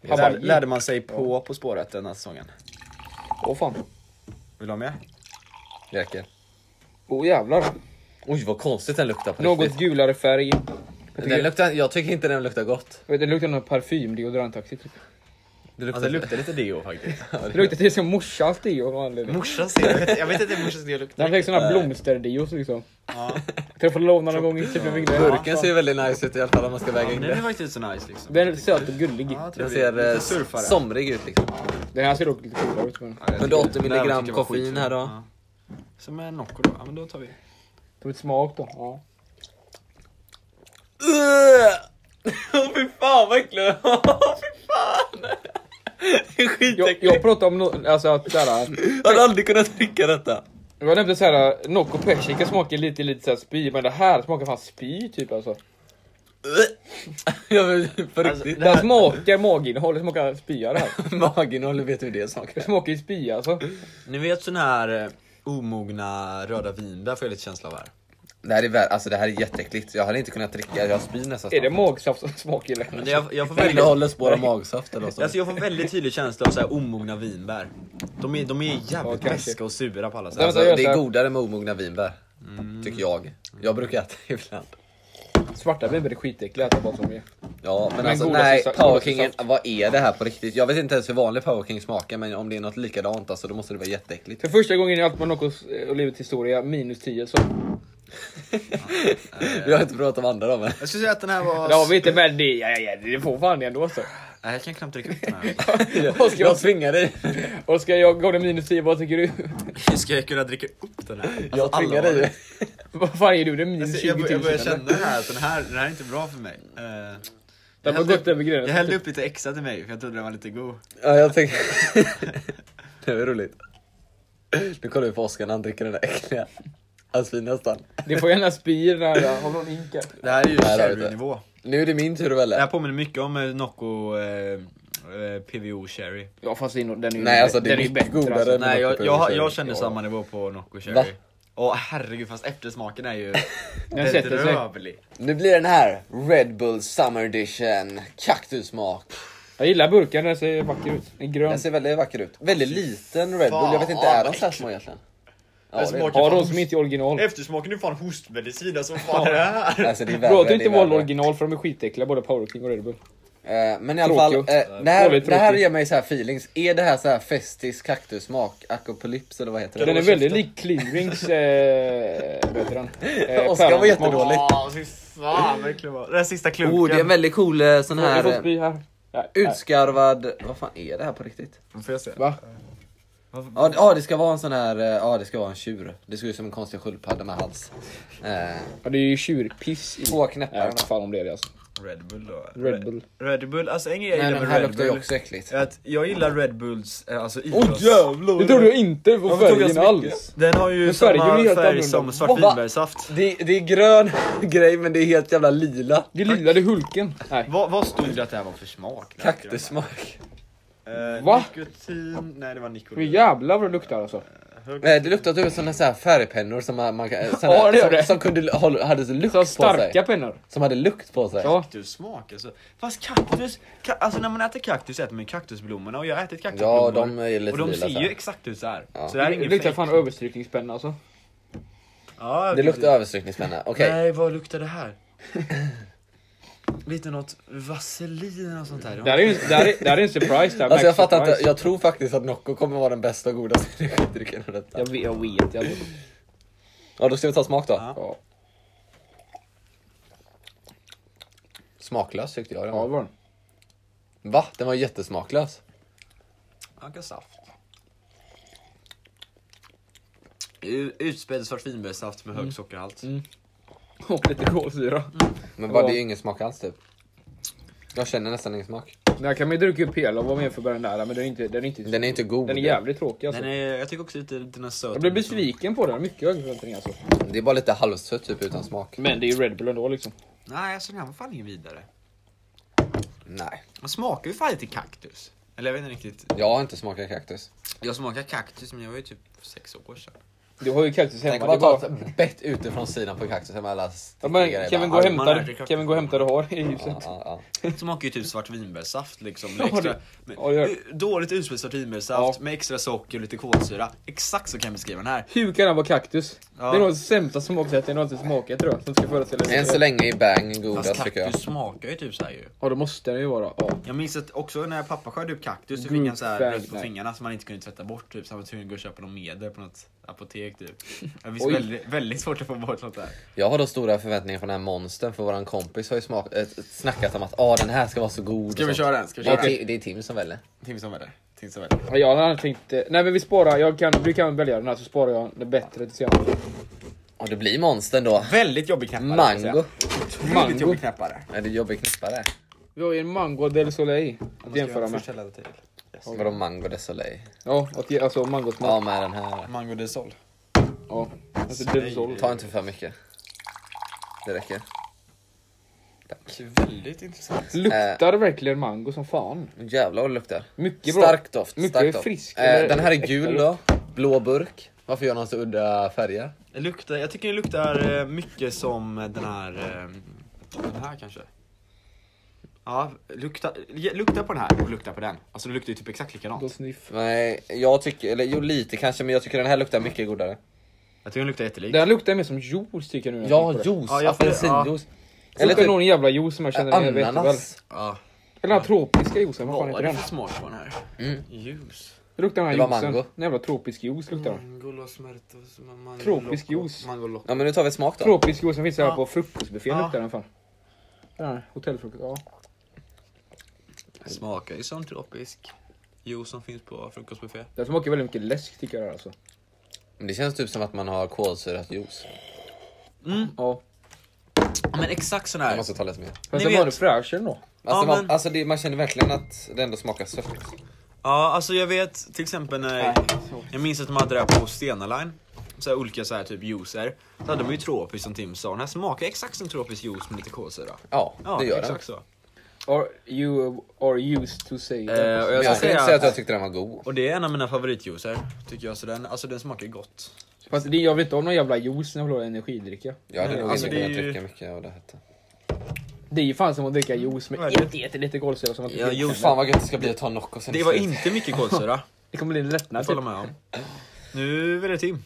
Det
Hawaii.
Lär, lärde man sig på På spåret den här säsongen.
Åh fan.
Vill du ha med?
Det räcker.
Åh jävlar.
Oj vad konstigt den luktar på
Något
riktigt.
gulare färg.
Den luktar, jag tycker inte den luktar gott.
Jag vet, Det luktar någon parfym, deodorantaktigt. Typ.
Det luktar,
Alltså det luktar lite deo faktiskt.
Det luktar till som morsans deo av någon anledning.
Morsans deo? Jag vet- Jag vet inte hur morsans deo luktar.
Den fick sån här blomsterdeos liksom. Träffade Lona någon gång i typ en vingla.
(laughs) Burken ser ju väldigt nice ut i alla fall om man ska väga
Men
in
den är
det.
faktiskt så nice liksom.
Den är söt och gullig.
Ja,
Den
trevlig.
ser
Lite
eh,
surfare.
somrig ut liksom.
Den här ser dock lite coolare ut. Men...
Ja, jag tycker-
180
det här
milligram
tycker jag var
koffein
skitfint.
här då.
Ja. Som är Nocco då. Ja men då tar vi.
(laughs)
Tog ett smak då. Ja.
Åh (laughs) fy fan vad (laughs) äckligt! Åh fy fan! Det är
Jag,
skitäckligt!
jag pratade om no- alltså, att såhär,
Jag hade aldrig kunnat dricka detta.
jag nämnde såhär, Nocco persika smakar lite lite såhär spy, men det här smakar fan spy typ alltså.
Jag vill på
Alltså,
riktigt.
Det här smakar maginnehåll, det smakar spya det här.
Maginnehållet vet du hur det
Det
smakar?
smakar ju spya alltså.
Ni vet sån här eh, omogna röda vinbär får jag lite känsla av här.
Det här är, vä- alltså, det här är jätteäckligt. Jag hade inte kunnat dricka, jag spyr nästan.
Är det magsaft som smakar eller?
Men det, jag, jag får väldigt,
Innehåller spår av magsaft eller vad som
alltså jag får väldigt tydlig känsla av så här omogna vinbär. De är, de är jävligt
kanske.
beska och sura på alla sätt.
Nej, men-
Alltså,
jag gör
det
så
är
här.
godare med omogna vinbär. Tycker jag. Jag brukar äta (laughs) det ibland.
Svarta vinbär är skitäckliga att äta bara som det är.
Ja men,
Men
alltså
godaste
nej,
sa-
Power
godaste
Kingen,
saft.
vad är det här på riktigt? Jag vet inte ens hur vanlig Power King smakar men om det är något likadant alltså då måste det vara jätteäckligt.
För första gången i allt på Noccos eh, och livets historia, minus 10 så.
Vi har inte pratat om andra då (laughs) men.
Jag skulle säga att den här var...
Det har vi inte men det, ja, ja, ja, det får fan det ändå så.
Nej, jag kan knappt dricka upp den här. (laughs)
Jag, jag Alltså, tvingar dig.
Och ska jag gå till minus 10, vad tycker du? (laughs)
Hur ska jag kunna dricka upp den här? Alltså,
Jag tvingar
allvar.
dig.
Vad fan är du? Det är minus
Alltså,
20
jag,
000
bör- jag börjar
eller?
känna här att den här, den här är inte bra för mig. Eh,
Den har
hällde
gått
upp-
över gränsen.
jag hällde upp lite extra till mig för jag trodde den var lite god.
Ja jag tänker. (laughs) Det var roligt. Nu kollar vi på Oskar när han dricker den där äckliga. Han spyr nästan.
Det får gärna spy i den här. Har någon inkar?
Det här är ju
Nej, det har vi inte.
sherry-nivå.
Nu är det min tur att
Det
välja.
här påminner mycket om eh, Nocco eh, eh, PVO Sherry.
Ja fast det är nog- den är ju
Nej, alltså, det är
den ju alltså.
mycket godare än-
Nej jag,
Nocco
jag,
Sherry.
jag känner
Ja.
samma nivå på Nocco
Va?
Cherry. Åh herregud fast eftersmaken
(laughs)
är ju
sätter sig.
bedrövlig.
Nu blir den här Red Bull Summer Edition kaktussmak.
Jag gillar burken, den ser vacker ut. Den är grön.
Den ser väldigt vacker ut. Väldigt liten Red Bull. Jag vet inte,
Fan,
är de
vad
så här små egentligen?
Alltså,
det är-
smakar
Har de
fan
som
host-
inte är original.
Eftersmaken är fan hostmedicin, alltså vad fan är det
(laughs)
här?
Alltså, det är värre,
Gråt
det är
inte vår
värre.
original för de är skitäckliga både Power King och Red Bull.
Eh, Men i alla fall, eh,
Tråkigt.
det, här,
Dåligt
det här
tråkigt.
ger mig så här feelings. Är det här så här festisk kaktussmak? Akopolyps eller vad heter
Den
det?
är väldigt lik Clearings, eh, vad heter den? Eh,
Oskar var
päronsmak.
jättedålig.
Ja, fy fan verkligen vad. Den här sista klunken.
Oh, det är en väldigt cool eh, sån
Jag får
här eh,
spy här. Nej, nej.
utskarvad... Vad fan är det här på riktigt?
Får jag se?
Va?
Ja, det- ja, det ska vara en sån här... eh, Ja, det ska vara en tjur. Det ser ut som en konstig sköldpadda med hals. Eh,
Ja, det är ju tjurpiss i.
Två knäppar.
Nej, vad fan om det är det alltså.
Red Bull då.
Red Bull.
Red Bull, alltså en grej jag
Men
gillar
den
med
här
Red
luktar ju
Bull
också äckligt.
är att jag gillar Red Bulls, eh, alltså
Åh
idrotts...
jävlar! Det tror jag inte på
Varför tog
färgen
jag så mycket?
alls.
Den har ju
Men
samma
färgen är helt
färg
annorlunda.
som svart
Va?
vinbärssaft.
Det, det är grön (laughs) grej men det är helt jävla lila.
Det lilla, det är Hulken. Nej.
Vad, vad stod det att det här var för smak?
Kaktussmak.
Eh,
Va?
Nikotin, nej det var
Men
nikotin.
jävlar vad det luktar alltså.
Eh, Det luktar typ som sådana färgpennor som man, man kan- såna,
Ja, det gör
som,
det.
som kunde hålla- hade så lukt
Så
på sig.
starka pennor.
Som hade lukt på sig.
Ja.
Kaktussmak alltså. Fast kaktus, ka- alltså när man äter kaktus äter man ju kaktusblommorna och jag har ätit kaktusblommor.
Ja, de är ju lite
Och de
lila
ser
så
ju
här.
exakt ut såhär.
Ja.
Så det här är
Det
ingen
luktar
fake.
fan överstrykningspenna alltså.
Ja,
Det
precis.
luktar överstrykningspenna. Okej.
Nej, vad luktar det här? (clears throat) Lite något vaselin eller något sånt där.
Det här är ju det här är, det här är en surprise. Det här
Alltså jag
Max
fattar
surprise.
inte, jag tror faktiskt att Nocco kommer vara den bästa och godaste (laughs) energidrycken av detta.
Jag vet, jag vet. Jag vet.
Ja då ska vi ta smak då.
Ja.
Ja,
Smaklös tyckte jag den
ja, det
var.
var den.
Va? Den var jättesmaklös.
Ankasaft. U- Utspädd svart vinbärssaft
Mm.
med hög sockerhalt.
Och lite kolsyra.
Men bara,
Ja.
det är ju ingen smak alls typ. Jag känner nästan ingen smak.
Den här kan man ju dricka upp hela och vara med för den där, men den är inte... Den är, inte,
Den är inte god.
den är jävligt tråkig alltså.
Den är, jag tycker också lite, lite den söt.
Jag blev besviken på den, mycket höga förväntningar alltså.
Det är bara lite halvsött typ utan smak.
Men det är ju Red Bull ändå liksom.
Nej, alltså den här var fan ingen vidare.
Nej.
Den smakar ju fan lite kaktus. Eller jag vet inte riktigt.
Jag har inte smakat kaktus.
Jag smakade kaktus men jag var ju typ sex år sedan.
Du har ju kaktus hemma.
Tänk
det
bara
är bara-
ta ett bett utifrån sidan på kaktus med alla
Ja,
stickiga
men
grejer.
Kevin, gå
Bara,
och
Armarna
hämta,
är det kaktus.
Kevin, gå och hämta det du har i huset.
Ja, ja, ja.
Det smakar ju typ svart vinbärssaft liksom.
Ja,
Med extra,
det-
med,
ja, det gör det.
dåligt utspädd svart vinbärssaft med extra socker och lite kolsyra. Exakt så kan jag beskriva den här.
Hur kan den vara kaktus?
Ja.
Det är nog det sämsta smaksättet jag någonsin smakat tror jag. Som ska föreställa
Än så länge är bang godast
Fast
tycker jag.
kaktus smakar ju typ så här ju.
Ja, då måste den ju vara. Ja.
Jag minns att också när pappa skörde upp kaktus så
Gud,
fick han så här rött på
färg, nej.
fingrarna som man inte kunde tvätta bort typ. Så han var tvungen att gå och köpa någon medel på något apotek
(laughs)
typ. Det
Oj.
finns väldigt, väldigt svårt att få bort sånt där.
Jag har då stora förväntningar på den här monstern för våran kompis har ju smak- äh, snackat om att ah, den här ska vara så god. och sånt.
den? Ska
Det är, Ti- det är Tim som väljer.
Tim som väljer. Tim som väljer.
Ja, jag hade tänkt... eh, Nej men vi sparar, jag kan, du kan välja den här så sparar jag den bättre till senare.
Och det blir monstern då.
Väldigt jobbig knäppare. kan jag
Mango.
säga.
Mango.
Väldigt jobbig knäppare.
Är det jobbig knappare?
Vi har ju en mango del soleil att jämföra med.
Förställda till.
Vadå mango de soleil?
Ja, att ge, alltså mangosmak.
Ja med den här.
Mango del sol.
Ja. Alltså del sol.
Ta inte för mycket. Det räcker.
Det är väldigt intressant.
Luktar
Eh.
verkligen mango som fan?
Jävlar vad det luktar.
Mycket bra.
Stark doft.
Mycket
stark doft.
frisk,
Eh,
eller-
den här är
äkta
gul då. Blå burk. Varför gör den så udda färger?
Det luktar, jag tycker det luktar eh, mycket som den här... eh, Den här kanske. Ja, lukta, ge- lukta på den här och lukta på den. Alltså det luktar ju typ exakt
Då
likadant.
sniff.
Nej, jag tycker, eller jo lite kanske, men jag tycker den här luktar mycket godare.
Jag tycker den luktar jättelik.
Den luktar mer som juice tycker jag nu. när jag
Ja,
tänker på det.
juice,
Ja, jag-
apelsinjuice.
Det
Eller
luktar
typ
någon jävla juice som jag känner igen jätteväl.
ananas.
Ja.
Eller den här tropiska juicen, vad
Vad
fan
är
heter
det
den?
för smak på den här?
Mm.
Juice.
Det luktar den
Det
här
var
juicen.
mango. Mm.
En jävla tropisk juice luktar den.
Mango los muertos. mango
Tropisk
loco,
juice.
Mango loco.
Ja men nu tar vi ett smak då.
Tropisk juice som finns här
Ja.
på frukostbuffén
Ja.
luktar den fan. Den här hotellfrukost, ja.
Smakar ju som tropisk juice som finns på frukostbuffé.
Den smakar väldigt mycket läsk tycker jag det här, alltså.
Men Det känns typ som att man har kolsyrat juice.
Ja.
Ja, men exakt sån
Jag
här.
måste ta lite mer.
Men
Ni
sen var det
vet-
fräschare då.
Alltså,
Ja,
man,
men-
alltså det, man känner verkligen att det ändå smakar sött.
Ja, alltså jag vet till exempel när jag minns att de hade det här på Stena Line. Så här olika så här typ juicer. Så hade de ju tropisk som Tim sa. Den här smakar exakt som tropisk juice med lite kolsyra.
Ja,
Ja,
det gör den.
exakt så.
Are you are used to say that.
Eh, och
Men
jag
jag
ska
skulle
säga
inte säga att jag
att,
tyckte den var god.
och det är en av mina favoritjuicer tycker jag. Så den, alltså den smakar gott.
Fast det, jag vill inte ha någon jävla juice när jag vill ha energidricka.
Jag hade
Nej,
nog
alltså,
inte
det är
kunnat
ju-
dricka mycket av det här.
Det är ju fan som att
Mm.
dricka juice med
Verkligen.
jätte, jätte, lite kolsyra som att
Ja,
dricka.
juice.
Fan vad gött det ska bli att ta Nocco sen.
(laughs)
Det var inte mycket kolsyra.
Det kommer bli en lättnad
Jag
typ.
håller med om. Nu är det Tim.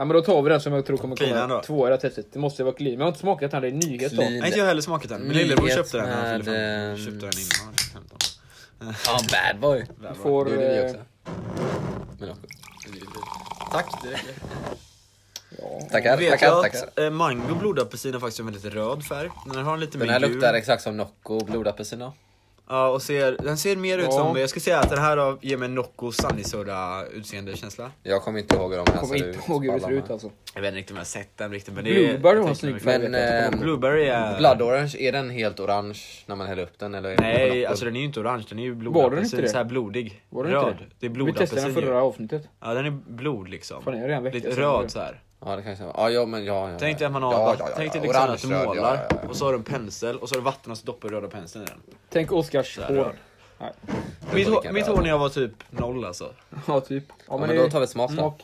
Ja men då tar vi den som jag tror kommer
Cleanan
komma
då?
tvåa i det här testet. Det måste ju vara clean. Men jag har inte smakat den, det är en nyhet då.
Clean.
Nej inte jag har heller smakat den, min
Nyhet
lillebror köpte den när han fyllde
med,
fem- köpte den innan han fyllde 15.
Ja, bad boy.
Du
Det
får...
gjorde vi
eh,
också. Men, ja.
Tack, det räcker.
ja.
Tackar,
Vet
tackar,
jag
tackar.
att eh, mango blodapelsin har faktiskt en väldigt röd färg. Den har en lite
Den
mer
här
gul.
luktar exakt som Nocco blodapelsin då.
Ja, och ser, den ser mer
Ja.
ut som, jag ska säga att den här har- ger mig Nocco Sunnysoda utseende känsla.
Jag kommer inte ihåg hur de alltså, här
Kommer inte ihåg hur det ser ut alltså.
Jag vet inte riktigt om jag har sett den riktigt men det är...
Blueberry har en snygg färg.
Men,
vet jag.
ehm,
Blueberry är...
Blood orange, är den helt orange när man häller upp den? Eller är den på
Nej,
Nocco?
alltså den är ju inte orange, den är ju
Var den inte
blodapelsin,
det?
såhär blodig.
Var det inte
röd. Det
Vi testade
är
den
blodapelsin ju.
förra avsnittet.
Ja, den är blod liksom.
Fan, jag är redan väckt,
Lite
jag känner det.
röd såhär.
Ja det kanske Ja, ja men ja. ja
Tänk dig
ja.
att man har,
ja, ja, ja,
tänk dig
ja.
liksom att du
Orange, röd,
målar,
ja, ja, ja.
och så har du en pensel, och så har du vatten och så doppar du röda penseln i den.
Tänk Oscars
Där,
hår.
Mitt, hår-
på vilken
mitt
röd.
hår när jag var typ noll alltså.
(laughs) Ja typ.
Ja, men
det-
då tar vi ett smak då.
smak.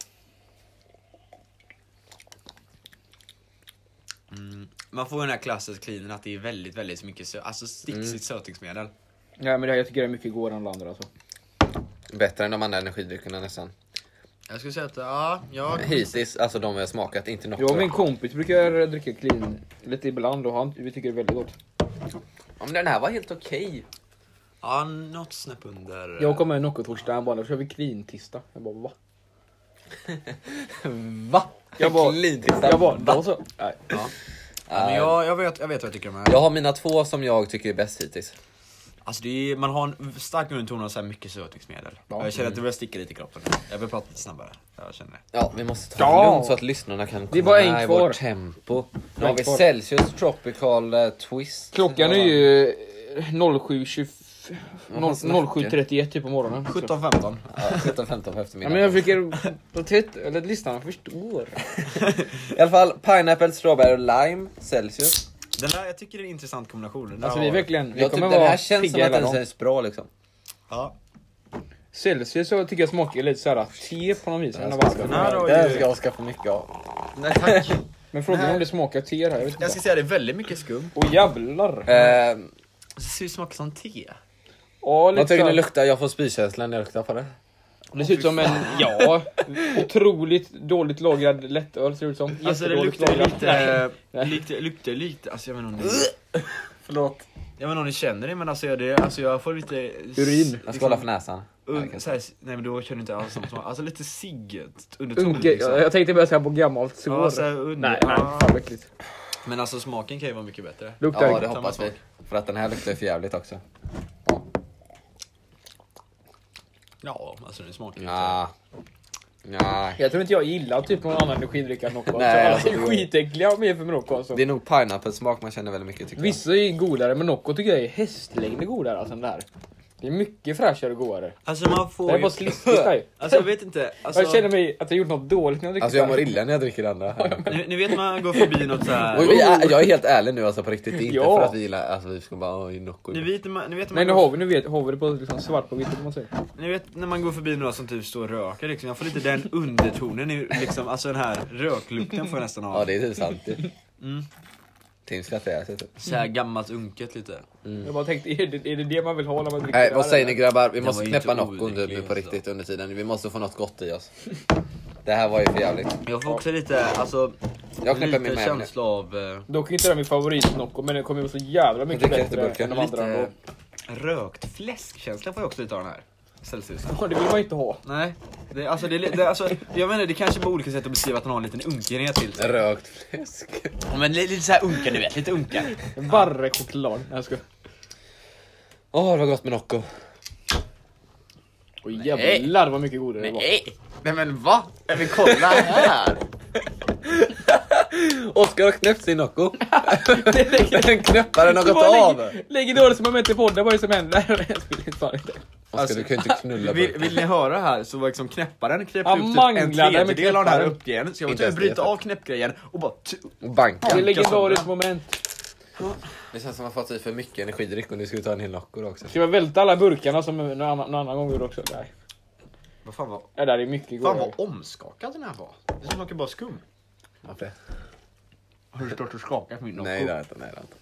Man får ju den här klassiska cleanen att det är väldigt, väldigt mycket sö- alltså
Mm.
sticksigt sötningsmedel.
Nej men det här, jag tycker det är mycket godare än det andra alltså.
Bättre än de andra energidryckerna nästan.
Jag skulle säga att, ja, ja.
Hisis, alltså de vi har smakat, inte Nocco.
Jag och min kompis brukar dricka clean lite ibland och han, vi tycker det är väldigt gott.
Ja, men den här var helt okej.
ja något snäpp under.
Jag kom med Nocco-torsdag han bara nu kör vi clean-tisdag. Jag bara va?
Va? (laughs)
Jag bara-
Glidtisdag.
Jag bara då så. Nej.
Ja. Ja, men jag, jag, vet, jag vet vad jag tycker om det här.
Jag har mina två som jag tycker är bäst hittills.
Alltså det är, man har en stark underton av så här mycket sötningsmedel.
Ja.
Jag känner att det börjar sticka lite i kroppen. Jag vill prata lite snabbare. Jag känner det.
Ja, vi måste ta
Ja.
det lugnt så att lyssnarna kan komma
bara en
med i
kvar.
vårt tempo. Nu har vi
kvar.
Celsius Tropical eh, Twist.
Klockan är ju eh, 07.25
fan snackar.
07.31 typ på morgonen. så.
17-15.
Ja, 17.15 på
Ja,
eftermiddagen.
men jag försöker... på titt- Eller listan förstår.
I alla fall pineapple, strawberry och lime, Celsius.
Den där, jag tycker det är en intressant kombination. Den där
Alltså vi är
har-
verkligen... Vi
Jag typ,
kommer
den
vara
här känns som
pigga
att
hela
den
dagen.
känns bra liksom.
Ja.
Celsius så tycker jag smakar lite såhär te på något vis. Den är varm.
Den här har
Den
ju-
ska jag skaffa mycket av.
Nej tack.
Men frågan är om det smakar te här. Jag vet
Jag
inte.
ska säga det är väldigt mycket skum.
Åh jävlar!
Eh,
Det ser ut som smakar som te.
Ja,
vad tycker ni
lite så-
luktar? Jag får spykänslan när jag luktar på det.
Det ser ut som en, (laughs) ja, otroligt dåligt lagrad lättöl ser det ut som.
Alltså det
Jättedåligt
luktar
lagrad. Eh,
lite,
Nej.
lite, luktar lite, alltså jag vet inte om ni... Förlåt. Jag vet inte om ni känner det men alltså jag, det, alltså jag får lite... liksom-
Urin.
Jag ska hålla för näsan.
Un, så här, nej men då känner du inte alls samma smak. Alltså lite cigget underton
Unke,
liksom.
jag tänkte börja säga på gammalt sår.
Ja, så här under.
nej, nej,
Ja.
fan vad äckligt.
Men alltså smaken kan ju vara mycket bättre.
Luktar
Ja, det
samma
hoppas vi. För att den här luktar ju för jävligt också.
Ja, alltså den smakar ju inte...
Ja. Nej.
Jag tror inte jag gillar typ någon annan energidryck än Nocco.
Nej,
alltså,
alltså,
alla är
det-
skitäckliga med för Nocco alltså.
Det är nog pineapple-smak man känner väldigt mycket tycker jag.
Vissa är godare men Nocco tycker jag är hästlängder godare alltså än det här. Det är mycket fräschare och godare.
Alltså man
Det
får
här är
ju...
bara sliskigt där.
Alltså jag vet inte. Alltså,
Jag känner mig att jag gjort något dåligt när jag dricker
Alltså jag
det
mår
här.
illa när jag dricker det andra.
ni, ni vet man går förbi något så här.
Och vi är, jag är helt ärlig nu alltså på riktigt. Det är inte
Ja.
för att vi gillar, alltså vi ska bara, oj Nocco.
Ni vet, när man- ni vet när
Nej
man
nu
går
har vi, nu vet, har vi det på liksom svart på vitt om man säger.
Ni vet när man går förbi några som typ står och röker liksom, jag får lite den undertonen i liksom, alltså den här röklukten får jag nästan av.
Ja det är typ (laughs) sant ju.
Mm.
Tim skrattar ihjäl sig typ.
Såhär gammalt unket lite.
Jag bara tänkte, är det, är det det man vill ha när man dricker
Nej vad
öl,
säger ni
eller?
grabbar? Vi
Den
måste
var ju inte
knäppa Noccon typ
olycklig,
nu på
alltså.
riktigt under tiden. Vi måste få något gott i oss. Det här var ju för jävligt.
Jag får också lite, alltså,
Jag knäpper min
lite
med nu.
känsla av eh,
Dock är inte det här min favorit Nocco men den kommer ju vara så jävla mycket
dricker
bättre
jätteburken.
än de andra.
lite
ändå.
rökt fläskkänsla får jag också lite av den här. Celsius.
Ja, det vill man ju inte ha.
Nej, det, alltså, det, det, alltså, jag menar det kanske på olika sätt att beskriva att den har en liten unkenhet till sig.
Rökt fläsk.
Ja, Men li- lite såhär unken du vet, lite unken.
Varre choklad. Nej, jag ska.
Åh det var gott med Nocco.
Och jävlar vad mycket godare det
(laughs)
var.
Nej men va? Men kolla här!
Oskar har knäppt sin Nocco. Den knäppade
Du
något
bara
av.
lägger- Lägger dåligt som moment i podden, vad är det som händer? (laughs) Jag skulle inte ta det.
Oskar du kan ju inte knulla
Vill,
burken.
vill ni höra här så var liksom knäpparen knäppte
Han
upp typ en
manglade med
tredjedel av den här
knäpparen.
uppgrejen. Så jag var tvungen
Inte ens
att
det,
bryta
faktiskt.
av knäppgrejen och bara... t-
Och Banka.
Det är
Jämka
legendariskt
sönder.
moment.
Det känns som att man fått i för mycket energidryck och nu ska vi ta en hel Nocco då också.
Ska jag välta alla burkarna som någon annan, någon annan gång gjorde också? Nej.
Vad fan vad,
Det där är mycket
fan
godare.
vad omskakad den här var. Det smakar bara skum.
Varför det?
Har du stått och skakat min
Nej det har jag inte. Nej, det har jag inte.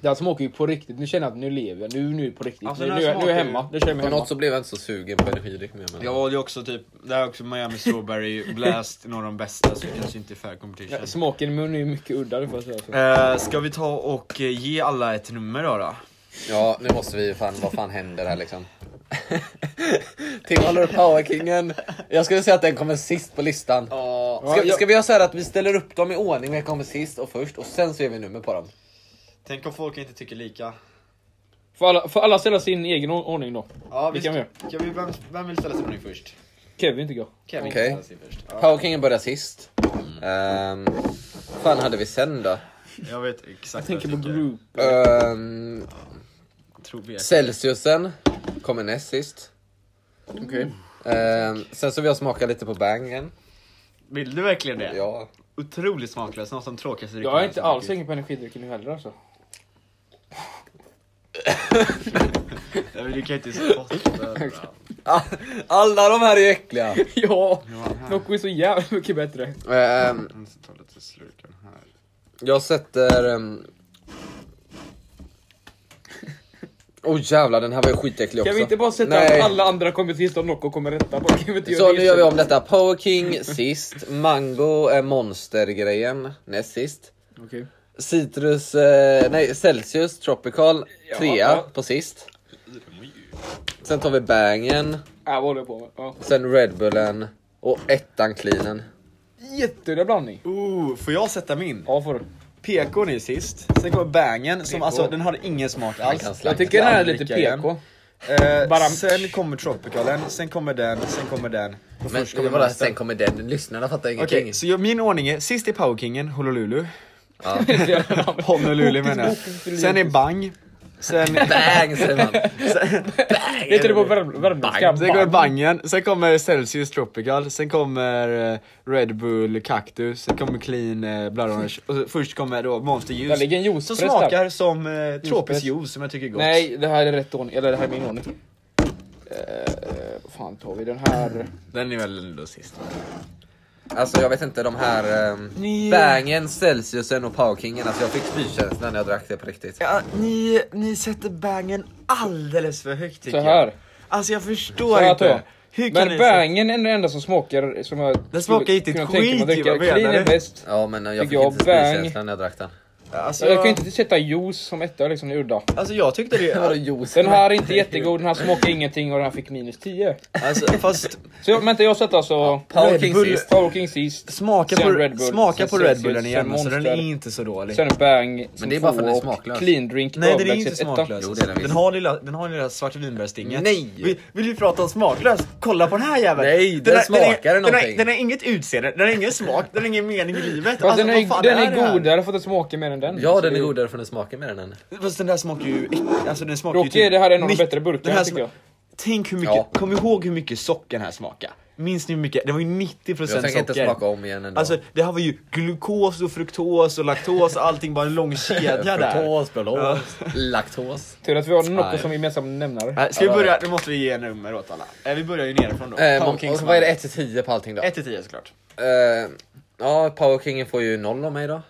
Den som åker ju på riktigt, nu känner jag att nu lever jag, nu, nu är det på riktigt.
Alltså,
nu,
den
nu,
här
är- nu är jag
smakar ju-
hemma, nu känner jag mig
På
hemma.
något så blev jag inte så sugen på energidryck mer. men-
Jag valde ju också typ, det här är också Miami Strawberry Blast, några av de bästa så det kanske inte är fair competition.
Ja, Smaken i munnen är ju mycket udda, det får jag säga. Så.
Eh, ska vi ta och eh, ge alla ett nummer då? då?
Ja, nu måste vi fan, vad fan händer här (laughs) liksom? Tim håller upp powerkingen. Jag skulle säga att den kommer sist på listan. Ska,
jag-
ska vi göra så här att vi ställer upp dem i ordning, vilka kommer sist och först och sen så ger vi nummer på dem.
Tänk om folk inte tycker lika.
Får, alla, får alla ställa sin egen or- ordning då?
Ja,
vi kan vi göra.
Ska vi, vem, vem vill ställa sig på nu först?
Kevin tycker jag.
Kevin
Okej.
ställer sig först. Ja.
Powerkingen börjar sist. Ehm, vad fan hade vi sen då?
Jag vet exakt
Jag tänker på group.
Ehm,
Tror vi.
Celsiusen kommer näst sist.
Okej.
Ehm, sen så vill jag smaka lite på bangen.
Vill du verkligen det?
Ja.
Otroligt smaklös, något som tråkigaste
Jag är inte alls sugen på energidrycker nu heller alltså.
Nej, men Du kan ju
(laughs)
inte spotta.
Alla de här är ju äckliga.
Ja!
Nu
(laughs) Nocco är så jävla mycket bättre.
Ehm,
måste ta lite slurken här.
Jag sätter... ehm, Åh jävlar, den här var ju skitäcklig också.
Kan vi inte bara sätta
Nej.
att alla andra kommer sist och Nocco kommer rätta? Bara, kan vi inte
Så
göra det
nu gör vi om
istället?
detta. Power King sist, Mango är monstergrejen näst sist.
Okej.
Citrus, eh, nej Celsius Tropical
Ja.
trea på sist. Sen tar vi Bangen,
Äh, vad håller jag på med? Ja.
sen Red Bullen och ettan Cleanen.
Jätteudda blandning.
Oh, får jag sätta min?
Ja, får du.
PK är sist, sen kommer bangen som alltså den har ingen smak alls.
kan slå.
Jag tycker den här är lite
Aldrig igen.
PK. (laughs)
Eh,
Bara-
sen kommer tropicalen, sen kommer den, sen kommer den. Och
Men
först
det
kommer
var där,
resten.
sen kommer den, lyssnarna fattar
Okej,
ingenting.
så jag, min ordning är sist är powerkingen, Honolulu. Honolulu menar
(laughs)
jag. Sen är bang.
(laughs)
Sen,
Bang säger man.
Heter det på typ värm- värmländska?
sen kommer bangen, sen kommer Celsius tropical, sen kommer eh, Red Bull cactus, sen kommer clean eh, blood orange och så, först kommer då monster
Där
juice.
ligger en
Som
juicepress där.
smakar som eh, tropisk
Juicepress.
juice som jag tycker är gott.
Nej, det här är rätt ordning. Eller det här är min ordning. Eh, vad fan tar vi den här?
Den är väl ändå sist.
Alltså jag vet inte, de här ehm,
Ni-
Bangen, Celsiusen och Powkingen, alltså jag fick spykänsla när jag drack det på riktigt.
Ja, ni, ni sätter bangen alldeles för högt tycker
Så här.
jag. Alltså jag förstår
Så här tar jag.
inte. Hur kan
Men
ni sätta-
bangen är den enda som smakar som jag skulle
smakar inte ett
kunna tänka mig att
skit,
dricka.
jag menar
Clean är
det.
bäst.
Ja men eh, jag
Fick
fick
jag
inte
bang?
spykänsla när jag drack den.
Alltså,
Jag kan inte sätta juice som etta liksom, det är udda.
alltså jag tyckte det...
juice?
Den här är inte jättegod, den här smakar ingenting och den här fick minus 10.
Alltså fast
Så jag, vänta, jag sätter alltså...
Power
Red
King
Bull-
sist.
Power King sist.
smaka
Sen
på,
Red Bull,
smaka
sen
på
Celsius,
Red Bullen igen
sen
alltså, den är
Monster.
inte så dålig.
Sen Bang som
det är bara för
tvåa
att den är
och
smaklös.
Clean drink
Nej den är
överlägset
inte smaklös.
Jo, det är den
den,
visst.
har lilla, den har lilla svarta vinbärstinget.
Nej.
Vill, vill du prata om smaklös? Kolla på den här jäveln!
Nej, den
har-
smakar
den har- Den
någonting.
har, den har inget utseende, den har ingen smak, den har ingen mening i livet.
Fast
Alltså,
den
vad
är,
fan
den
är det här?
är godare för att den smakar mer än den.
Ja
Så
den
det
är godare för den smakar mer än den.
Fast den där smakar ju... Alltså den smakar
Dock
ju
är det här en av de
mycket-
bättre burkarna,
den här
tycker
sma-
jag.
Tänk hur mycket,
Ja.
kom ihåg hur mycket socker den här smakade. Minns ni hur mycket? Det var ju 90%
Jag tänker
socker.
inte smaka om igen ändå.
Alltså det här var ju glukos och fruktos och laktos och allting bara en
(laughs)
lång kedja där.
Fruktos, blås, laktos.
Tur att vi har något
Nej.
som gemensam nämnare.
Äh, Ska vi börja? Nu måste vi ge nummer åt alla. Äh, Vi börjar ju nerifrån då.
Eh,
Power King
och
som
vad är
vann.
det 1-10 på allting då?
1 till 10 såklart.
Eh, ja, Powkingen får ju 0 av mig då.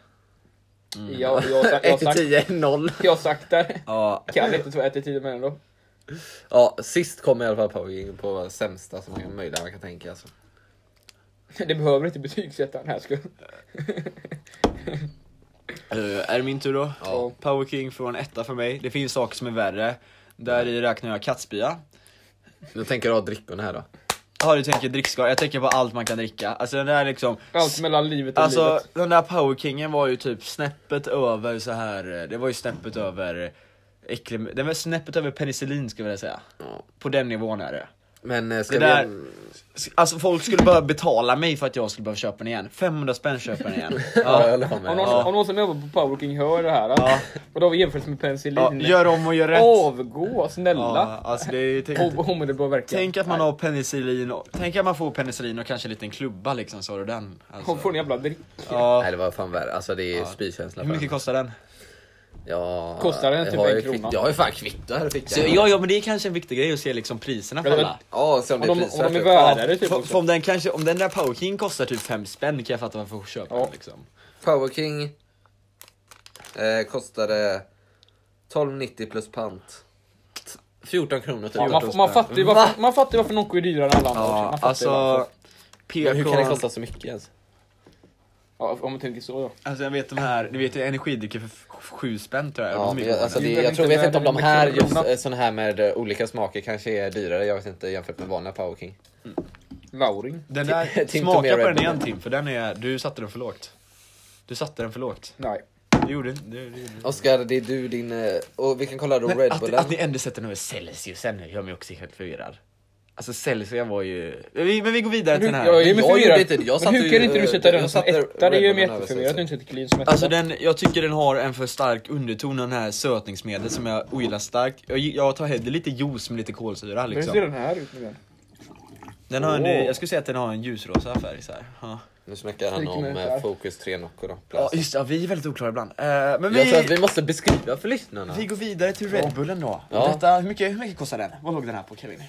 Mm. Jag, jag, har sagt- jag, har
(laughs)
sagt-
1-10 är 0.
jag har sagt det.
Ja,
Kan inte ta 1-10 med ändå.
ja, sist kom i alla fall Powking på sämsta som man- möjliga man kan tänka. Alltså.
Det behöver inte betygsätta den här skull.
Eh, är det min tur då?
Ja.
Power King får en etta för mig. Det finns saker som är värre. Där i räknar jag kattspya.
Nu tänker du ha drickorna här då.
Ja du tänker drickskador, jag tänker på allt man kan dricka. Alltså den där liksom...
Allt mellan livet och
Alltså
livet.
den där powerkingen var ju typ snäppet över så här. eh, det var ju snäppet över eh, äcklig, den var snäppet över penicillin skulle jag vilja säga.
Ja.
På den nivån är det.
Men eh,
Det
ska vi...
där, alltså folk skulle bara betala mig för att jag skulle behöva köpa den igen. 500 spänn köper den igen.
(laughs) Ja, jag
Ja.
håller med.
Om någon,
Ja.
om någon som jobbar på Power King hör det här och då har vi jämfört med
Ja,
penicillin.
gör om och gör rätt.
Avgå snälla.
Ja, alltså det är, tänk,
Om- Omedelbar verkan.
tänk att man har penicillin, och, tänk att man får penicillin och kanske en liten klubba liksom, så har du den.
Hon får
Alltså.
en jävla drink.
Ja.
Nej det var fan värre, alltså det är spykänsla
Hur
för
mycket
den.
kostar den?
ja,
kostar den
jag
typ
har
en
ju
krona?
kvitt- Jag har ju fan kvitto här i fickan.
Så, ja, ja men det är kanske en viktig grej att se liksom priserna för
Ja, men-
alla.
Ja, se om
Om
det
de,
är
om de är
priser.
värdare typ
För- för
också.
om, den kanske, om den där Power King kostar typ 5 spänn kan jag liksom. fatta varför hon köper
Ja.
den liksom.
Power King eh, kostade 12,90 plus pant. 14 kronor typ.
Ja, man, f- man fattar ju varför, man fattar ju varför Nocco är dyrare än alla andra också. Man
Ja,
fattar ju
alltså...
varför.
PK...
Men hur kan det kosta så mycket ens?
Ja, om man tänker så ja.
Alltså jag vet de här, du vet energidrycker för f- sju spänn tror jag.
Ja,
De är
men jag, alltså
mycket
Det
det,
är väl
jag tror,
inte
vet inte om de
värre
här,
än en
just
krona.
eh, såna här med eh, olika smaker kanske är dyrare. Jag vet inte jämfört med vanliga Power King.
Lauring.
Den (laughs)
Tim-
där,
Tim
smaka
Tomé
på
Red
den
Bull.
igen Tim, för den är, du satte den för lågt. Du satte den för lågt.
Nej.
Du gjorde inte, du, du gjorde inte.
Oscar, det är du din... eh, Och vi kan kolla då Red
att,
Bullen.
att ni ändå sätter den över Celsiusen gör mig också helt förvirrad. Alltså Celsius var ju... Men vi, men vi går vidare till den här.
Jag är ju
Jag gjorde
förvirrad.
inte det. Jag
Men
satte
hur kan
ju,
inte du
eh,
sätta
jag
den som
satte
etta? Det är ju
Red Bullen över
jätteförvirrat att du inte sätter clean som etta.
Alltså den, jag tycker den har en för stark underton, den här sötningsmedlet som jag ogillar starkt. Jag, jag tar hellre lite juice med lite kolsyra
Men hur ser
liksom.
den här ut nu igen?
Den har en,
Åh.
jag skulle säga att den har en ljusrosa färg så här. Ja.
Nu snackar han
Stryker
om
med
eh,
där.
Focus 3 Nocco då.
ja
Plast.
just det, ja, vi är väldigt oklara ibland. Eh, men vi,
Jag tror att vi måste beskriva för lyssnarna.
vi går vidare till Red Bullen då.
Ja.
Ja. Detta, hur, mycket, hur mycket kostar den? Vad låg den här på Kevin?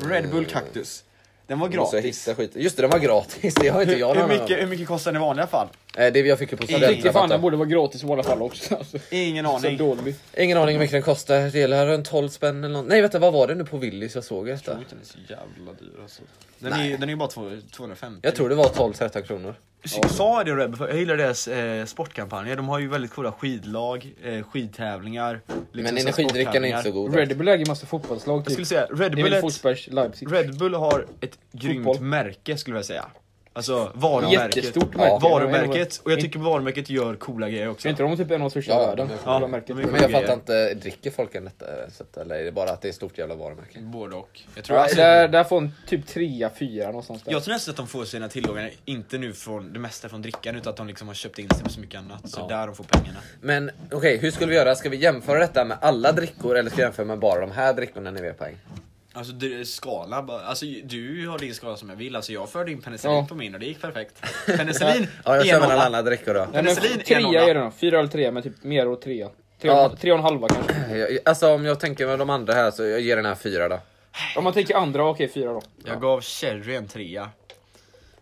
Red Bull Cactus. Den var
Vi måste
gratis.
hitta skit. Just det, den var gratis. (laughs) Det har inte jag
Hur, hur,
någon
mycket,
mycket...
hur mycket kostar den i vanliga fall?
Det jag fick ju på
Jag tycker fan den
studentrabatten.
borde vara gratis i våra fall också. Alltså.
Ingen
Så
aning. Jag
dålig.
Ingen aning hur mycket den kostar. Det är väl runt 12 spänn eller något. Nej vänta, vad var det nu på Willys jag såg detta?
tror inte den är så jävla dyr alltså. Den är ju den är ju bara två- 250.
Jag tror det var 12-13 kronor.
Sa det Rebbe, för jag gillar deras eh, sportkampanjer. De har ju väldigt coola skidlag, eh, skidtävlingar. liksom
Men energidrickan är inte så god.
Red Bull äger massa fotbollslag
Jag skulle
typ.
säga Red
Det är
Bull,
väl
ett,
Forsbergs Leipzig.
Red Bull har ett grymt
Fotboll.
märke skulle jag säga. Alltså varumärket.
Jättestort
Ja.
märke.
Varumärket, och jag tycker varumärket gör coola grejer också.
Är inte de typ en av de största i
Ja,
världen?
det är
Jävla
Ja.
märket.
Men-
Men jag fattar inte, dricker folk än detta? eh, så att- Eller är det bara att det är ett stort jävla varumärke?
Både och. Jag tror,
Ja,
alltså,
där, där får en typ trea, fyra någonstans där.
jag tror nästan att de får sina tillgångar, inte nu från det mesta från drickan, utan att de liksom har köpt in sig på så mycket annat. Så
Ja.
där de får pengarna.
Men okej, hur skulle vi göra? Ska vi jämföra detta med alla drickor eller ska vi jämföra med bara de här drickorna när vi är poäng?
Alltså du, skala, bara- alltså du har din skala som jag vill, alltså jag förde in penicillin
Ja.
på min och det gick
(laughs)
perfekt. Penicillin,
Ja, jag
en
kör med alla
nolla.
andra drickor då.
Ja, men
Penicillin, en nolla.
trea är det nog. Fyra eller trea, men typ mer och trea. Tre,
Ja.
tre och en halva kanske.
Jag- Alltså om jag tänker med de andra här så jag ger den här fyra då.
Om man tänker andra, okej fyra då.
Jag gav Cherry en trea.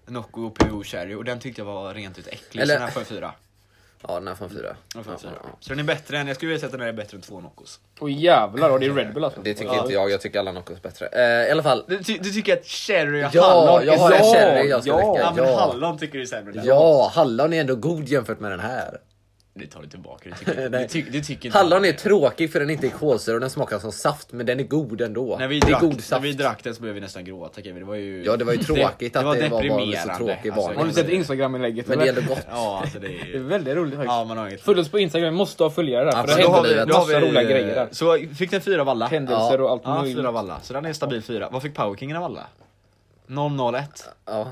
Nocco och PO Cherry och den tyckte jag var rent ut äcklig,
Eller-
så den här får en fyra.
Ja, den här får en fyra.
Den får en fyra.
Ja,
Så den är bättre än, jag skulle vilja säga att den här är bättre än två Noccos.
Och jävlar, och det är Red Bull alltså.
Det tycker
Ja.
inte jag, jag tycker alla Noccos bättre. Eh, I alla fall.
Du, ty, du tycker att Cherry och
Ja,
hallon
jag har
är
en
sämre?
cherry jag ska
ja.
dricka.
Ja men
Ja.
hallon tycker du är sämre än den.
Ja, hallon är ändå god jämfört med den här. Eh,
Det tar du tillbaka, du
(laughs)
tycker,
Nej.
du, ty, du tycker inte-
Hallon är tråkig för den inte är kolsyra och den smakar som saft, men den är god ändå.
När vi,
det är
drack,
god
när
saft.
vi drack den så började vi nästan gråta Kevin, (laughs) det var ju...
Ja, det var ju tråkigt att det var bara så
deprimerande.
tråkig
Alltså,
Har
varning.
du sett Instagram-inlägget?
Men det är ändå gott.
Ja alltså det
Det är
är... (laughs)
väldigt roligt faktiskt.
Ja man har inget
Följ oss på Instagram, vi måste ha följare där. För det
Absolut.
Då har
händer
vi, då har
massa
vi,
roliga grejer där.
Så fick den fyra av alla?
Händelser
Ja.
och allt
Ja,
möjligt.
fyra av alla. Så den är en stabil fyra. Vad fick Powerkingen av alla? 001.
Ja.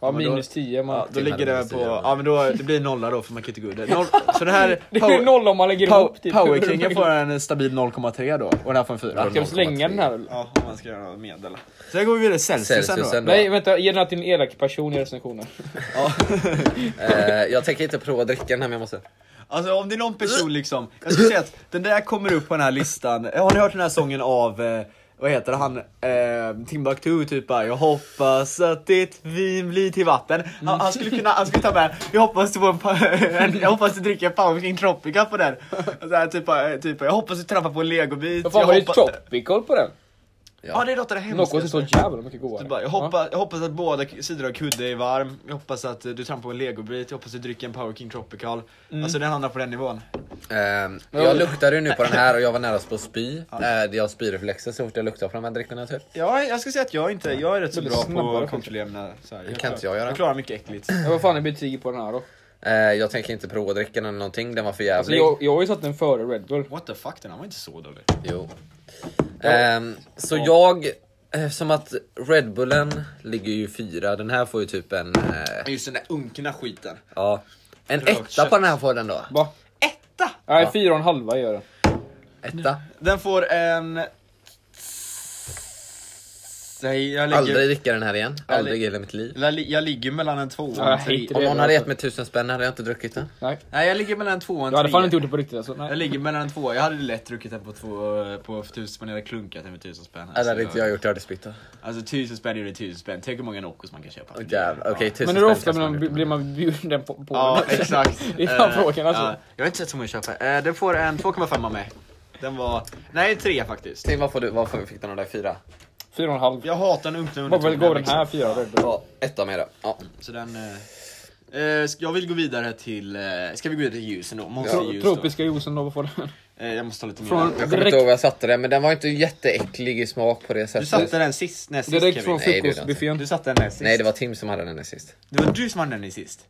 Ja,
men då-
minus 10 man.
Ja, då
till
ligger
mellan
den på...
fyra.
Ja men då, det blir nolla då för man kan inte gå under. Noll,
(laughs)
så det här...
(laughs) Det är noll om man lägger ihop typ. (laughs)
Powerkingen får en stabil 0,3 då och den här får en fyra.
Ska vi slänga den här eller?
Ja, om man ska göra något medel. Sen går vi vidare Celsiusen då.
Celsiusen då.
Nej vänta, ge den här till en elak person i recensionen.
Eh, jag tänker inte prova att dricka den här men jag måste.
Alltså om det är någon person liksom, jag skulle säga att den där kommer upp på den här listan. Har ni hört den här sången av, eh, vad heter han, eh, Timbuktu typ bara, Jag hoppas att ditt vin blir till vatten. Han, han, skulle kunna, han skulle ta med, jag hoppas du, får en, pa- (laughs) en, jag hoppas du dricker en Power King Tropica på den. Och Så här, typ, bara, eh, typ, jag hoppas du trampar på en legobit.
Vad fan var
jag
det
hoppa-
tropical på den?
Ja det låter hemskt.
Nocco är så jävla mycket
Du
godare.
bara, jag, hoppas, jag hoppas att båda k- sidor av kudde är varm, jag hoppas att eh, du trampar på en legobit, jag hoppas att du dricker en Power King Tropical.
Mm.
Alltså den hamnar på den nivån.
Ehm, jag luktade ju nu på den här och jag var nära på att spy. Eh, jag har spyreflexer så fort jag luktar på de här drickorna typ.
Ja, jag ska säga att jag inte, jag är rätt så
Väldigt
bra på
snabbare
att kontrollera mina så här.
kan inte jag göra.
Jag klarar mycket äckligt.
Ja. Vad fan är betyget på den här då?
Eh, jag tänker inte prova att dricka den eller någonting, den var för jävlig.
Alltså, jag, jag har ju satt den före Red Bull.
What the fuck, den här var inte så dålig.
Jo. Ehm, så jag, eftersom att Red Bullen ligger ju fyra, den här får ju typ en... eh,
Just den där unkna skiten.
ja. En
Rökt
etta
kött.
på den här får den då.
Va?
Etta!
Nej, fyra och en halva gör den.
Etta.
Den får en... Nej, jag ligger...
Aldrig dricka den här igen. Aldrig i
Aldrig.
hela mitt liv.
Jag, li- jag ligger mellan en tvåa och
Nej,
en trea.
inte
Om
Det är
någon
bra
hade
alltså.
gett mig tusen spänn hade jag inte druckit den.
Nej.
Nej, jag ligger mellan en tvåa och en
Jag hade fan
trea.
inte gjort det på riktigt alltså.
Jag
Nej.
ligger mellan en tvåa. Jag hade lätt druckit den på två, på tusen spänn. Jag hade klunkat den med tusen spänn.
Alltså,
Nej, det hade inte jag gjort, jag hade spytt.
Alltså tusen spänn är det tusen spänn. Tänk hur många Noccos man kan köpa. för det.
Jävlar, okej tusen
Men hur
spänn
ofta
kanske
blir man,
hade gjort.
blir man bjuden på, på
Ja,
den?
exakt.
(laughs) Det är fan
Eh,
frågan, alltså.
ja. Jag har inte sett så många köpa. Eh, Den får en 2,5 av mig.
Den var, nej tre faktiskt.
Tim, vad får du, varför fick du den där fyra?
Fyra och en halv.
Jag hatar den öppna
Vad väl
undertonen.
går den
liksom.
här fyra då?
Ja, ett av mera. Ja.
Så den, eh,
liksom. Eh, ska- jag vill gå vidare till, eh, ska vi gå vidare till ljusen då? Monster
Tro,
ljus då.
tropiska juicen då, vad får den?
Eh, jag måste ta lite
Från-
mer.
Jag kommer
Direkt-
inte ihåg var jag satte den, men den var inte jätteäcklig i smak på det
Du
sättet.
satte den sist, näst sist
Direkt
Kevin.
från
Nej, det gjorde jag inte.
frukostbuffén.
Du satte den näst sist.
Nej, det var Tim som hade den sist.
Det var du som hade den i sist.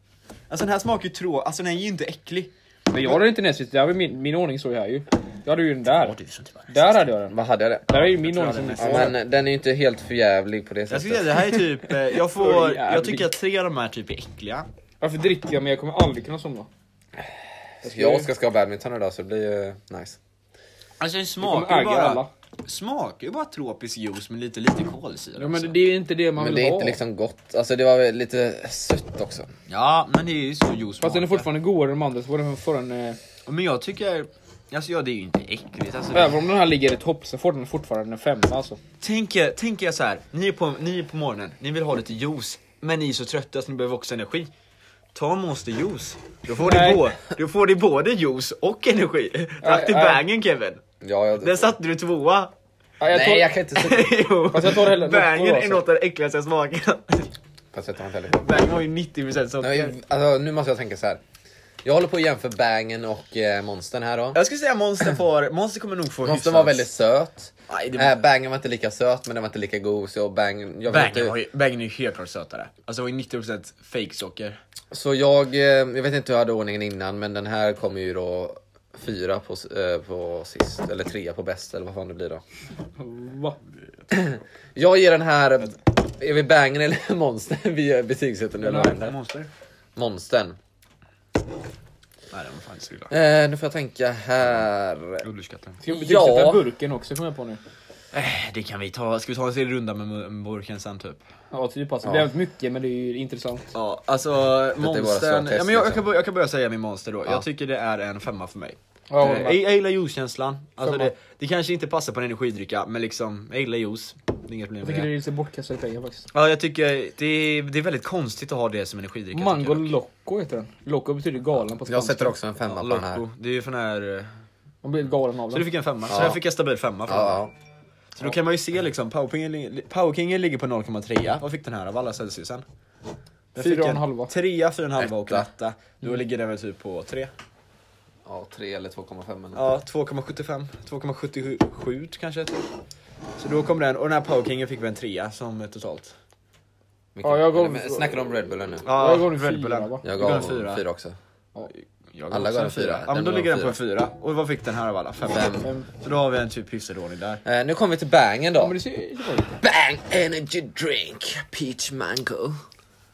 Alltså den här smakar ju trå... Alltså den är ju inte äcklig.
Men jag hade inte näst sist, det här var min, min ordning såg jag här ju. Jag hade ju den där.
du som typ var
Där hade jag den.
Vad hade jag det?
Där är ju min ordning
jag
som
Ja, men den är ju inte helt förjävlig på det
jag skulle säga
sättet.
det här är typ, eh, jag får, jag
Jävligt.
tycker att tre av de här typ är äckliga.
Alltså,
Varför dricker jag men jag kommer aldrig kunna somna?
Jag ska ska badminton idag så det blir ju nice.
Alltså
Jag kommer
den smakar ju
äga
bara...
alla.
Smakar ju bara tropisk juice med lite, lite kolsyra
Ja, men
också.
det är inte det man
Men
vill
det är
ha.
inte liksom gott. Alltså det var väl lite sött också.
Ja, men det är ju så juice
Fast den är
smakar.
fortfarande godare än de andra så var den förrän... Eh,
Men jag tycker... Alltså ja, det är ju inte äckligt. Alltså,
även om den här ligger i topp så får den fortfarande en femma alltså.
Tänk er, tänk er så här. Ni är, på, ni är på morgonen, ni vill ha lite juice, men ni är så trötta så ni behöver också energi. Ta Monster juice. Då får,
Nej.
du bo, då får du både juice och energi. Drack du
aj.
bangen Kevin?
Ja, jag...
Där satte du tvåa.
Ja, jag tar-
Nej, jag kan inte sätta...
(laughs) jo.
Fast jag tar hellre Nocco
Bangen
då,
är
alltså.
något av det äckligaste jag smakat.
Fast jag tar inte heller.
Bangen var ju 90% sånt.
Nej, jag- Alltså, nu måste jag tänka så här. Jag håller på att jämföra Bangen och eh, Monstern här då.
Jag skulle säga Monster får, Monster kommer nog få
Monstern
hyfsat-
var väldigt söt.
Nej, det var-
Eh, Bangen var inte lika söt men den var inte lika god så Bangen... Jag vet
Bangen,
inte-
var ju, bangen är ju helt klart sötare. Alltså det var ju 90% fake socker.
Så jag, eh, jag vet inte hur jag hade ordningen innan men den här kommer ju då fyra på, s- eh, på sist, eller trea på bäst eller vad fan det blir då.
Va?
Jag ger den här, är vi bangen eller (laughs) monster? Vi gör betygsätter nu eller vad händer?
Monster?
Monstern.
Nej den var fan inte så glad.
Eh, nu får jag tänka här.
Underskattad.
Ska jag betygsätta
Ja.
burken också kommer jag på nu?
Eh, Det kan vi ta, ska vi ta en till runda med mu- med burken sen typ?
Ja typ alltså. Det är mycket men det är ju intressant.
Ja, alltså
våra
monstern.
slagtest,
Ja, men jag, jag,
liksom.
kan börja, jag kan börja säga min monster då.
Ja.
Jag tycker det är en femma för mig.
Ja,
Eh,
håller
jag,
med.
jag gillar juicekänslan. Alltså
Femma.
det, det kanske inte passar på en energidricka, men liksom, jag gillar juice. Det är inga problem
jag
med
tycker
det.
det är lite bortkastade pengar faktiskt.
Ja, jag tycker det är, det är väldigt konstigt att ha det som energidricka.
Mango
tycker jag.
Loco heter den. Loco betyder galen på spanska.
Jag sätter också en femma på den här.
Loco, det är ju för den här... eh,
Man blir galen av
Så du
den.
fick en femma,
Ja.
så där fick jag stabil femma från den.
Ja,
Så då kan man ju se liksom, Powerkingen li- Powerkingen ligger på 0,3, vad fick den här av alla Celsiusen? Den
Fyra
fick
och en
en
halva. Mm.
Trea, fyra och en halva och en
Etta.
etta. Då ligger den väl typ på tre.
ja, tre eller 2,5 eller
Ja, 2,75, 2,77 kanske. Så då kom den, och den här Powerkingen fick vi en trea som totalt.
Vilken-
Ja, jag går-
Men Snackar du om Red Bullen nu?
Ja, jag går nu
Red Bullen.
fyra va?
Jag
Du gav
gav
en fyra.
fyra också.
Jag
Alla
också
gav
en
en fyra.
Ja, men
Den
då
gav
ligger den
en
på en fyra. Och vad fick den här av alla? Fem.
Fem.
Så då har vi en typ hyfsad ordning där.
Eh, nu kommer vi till bangen då.
Ja, men det ser ju bra ut.
Bang energy drink, peach mango.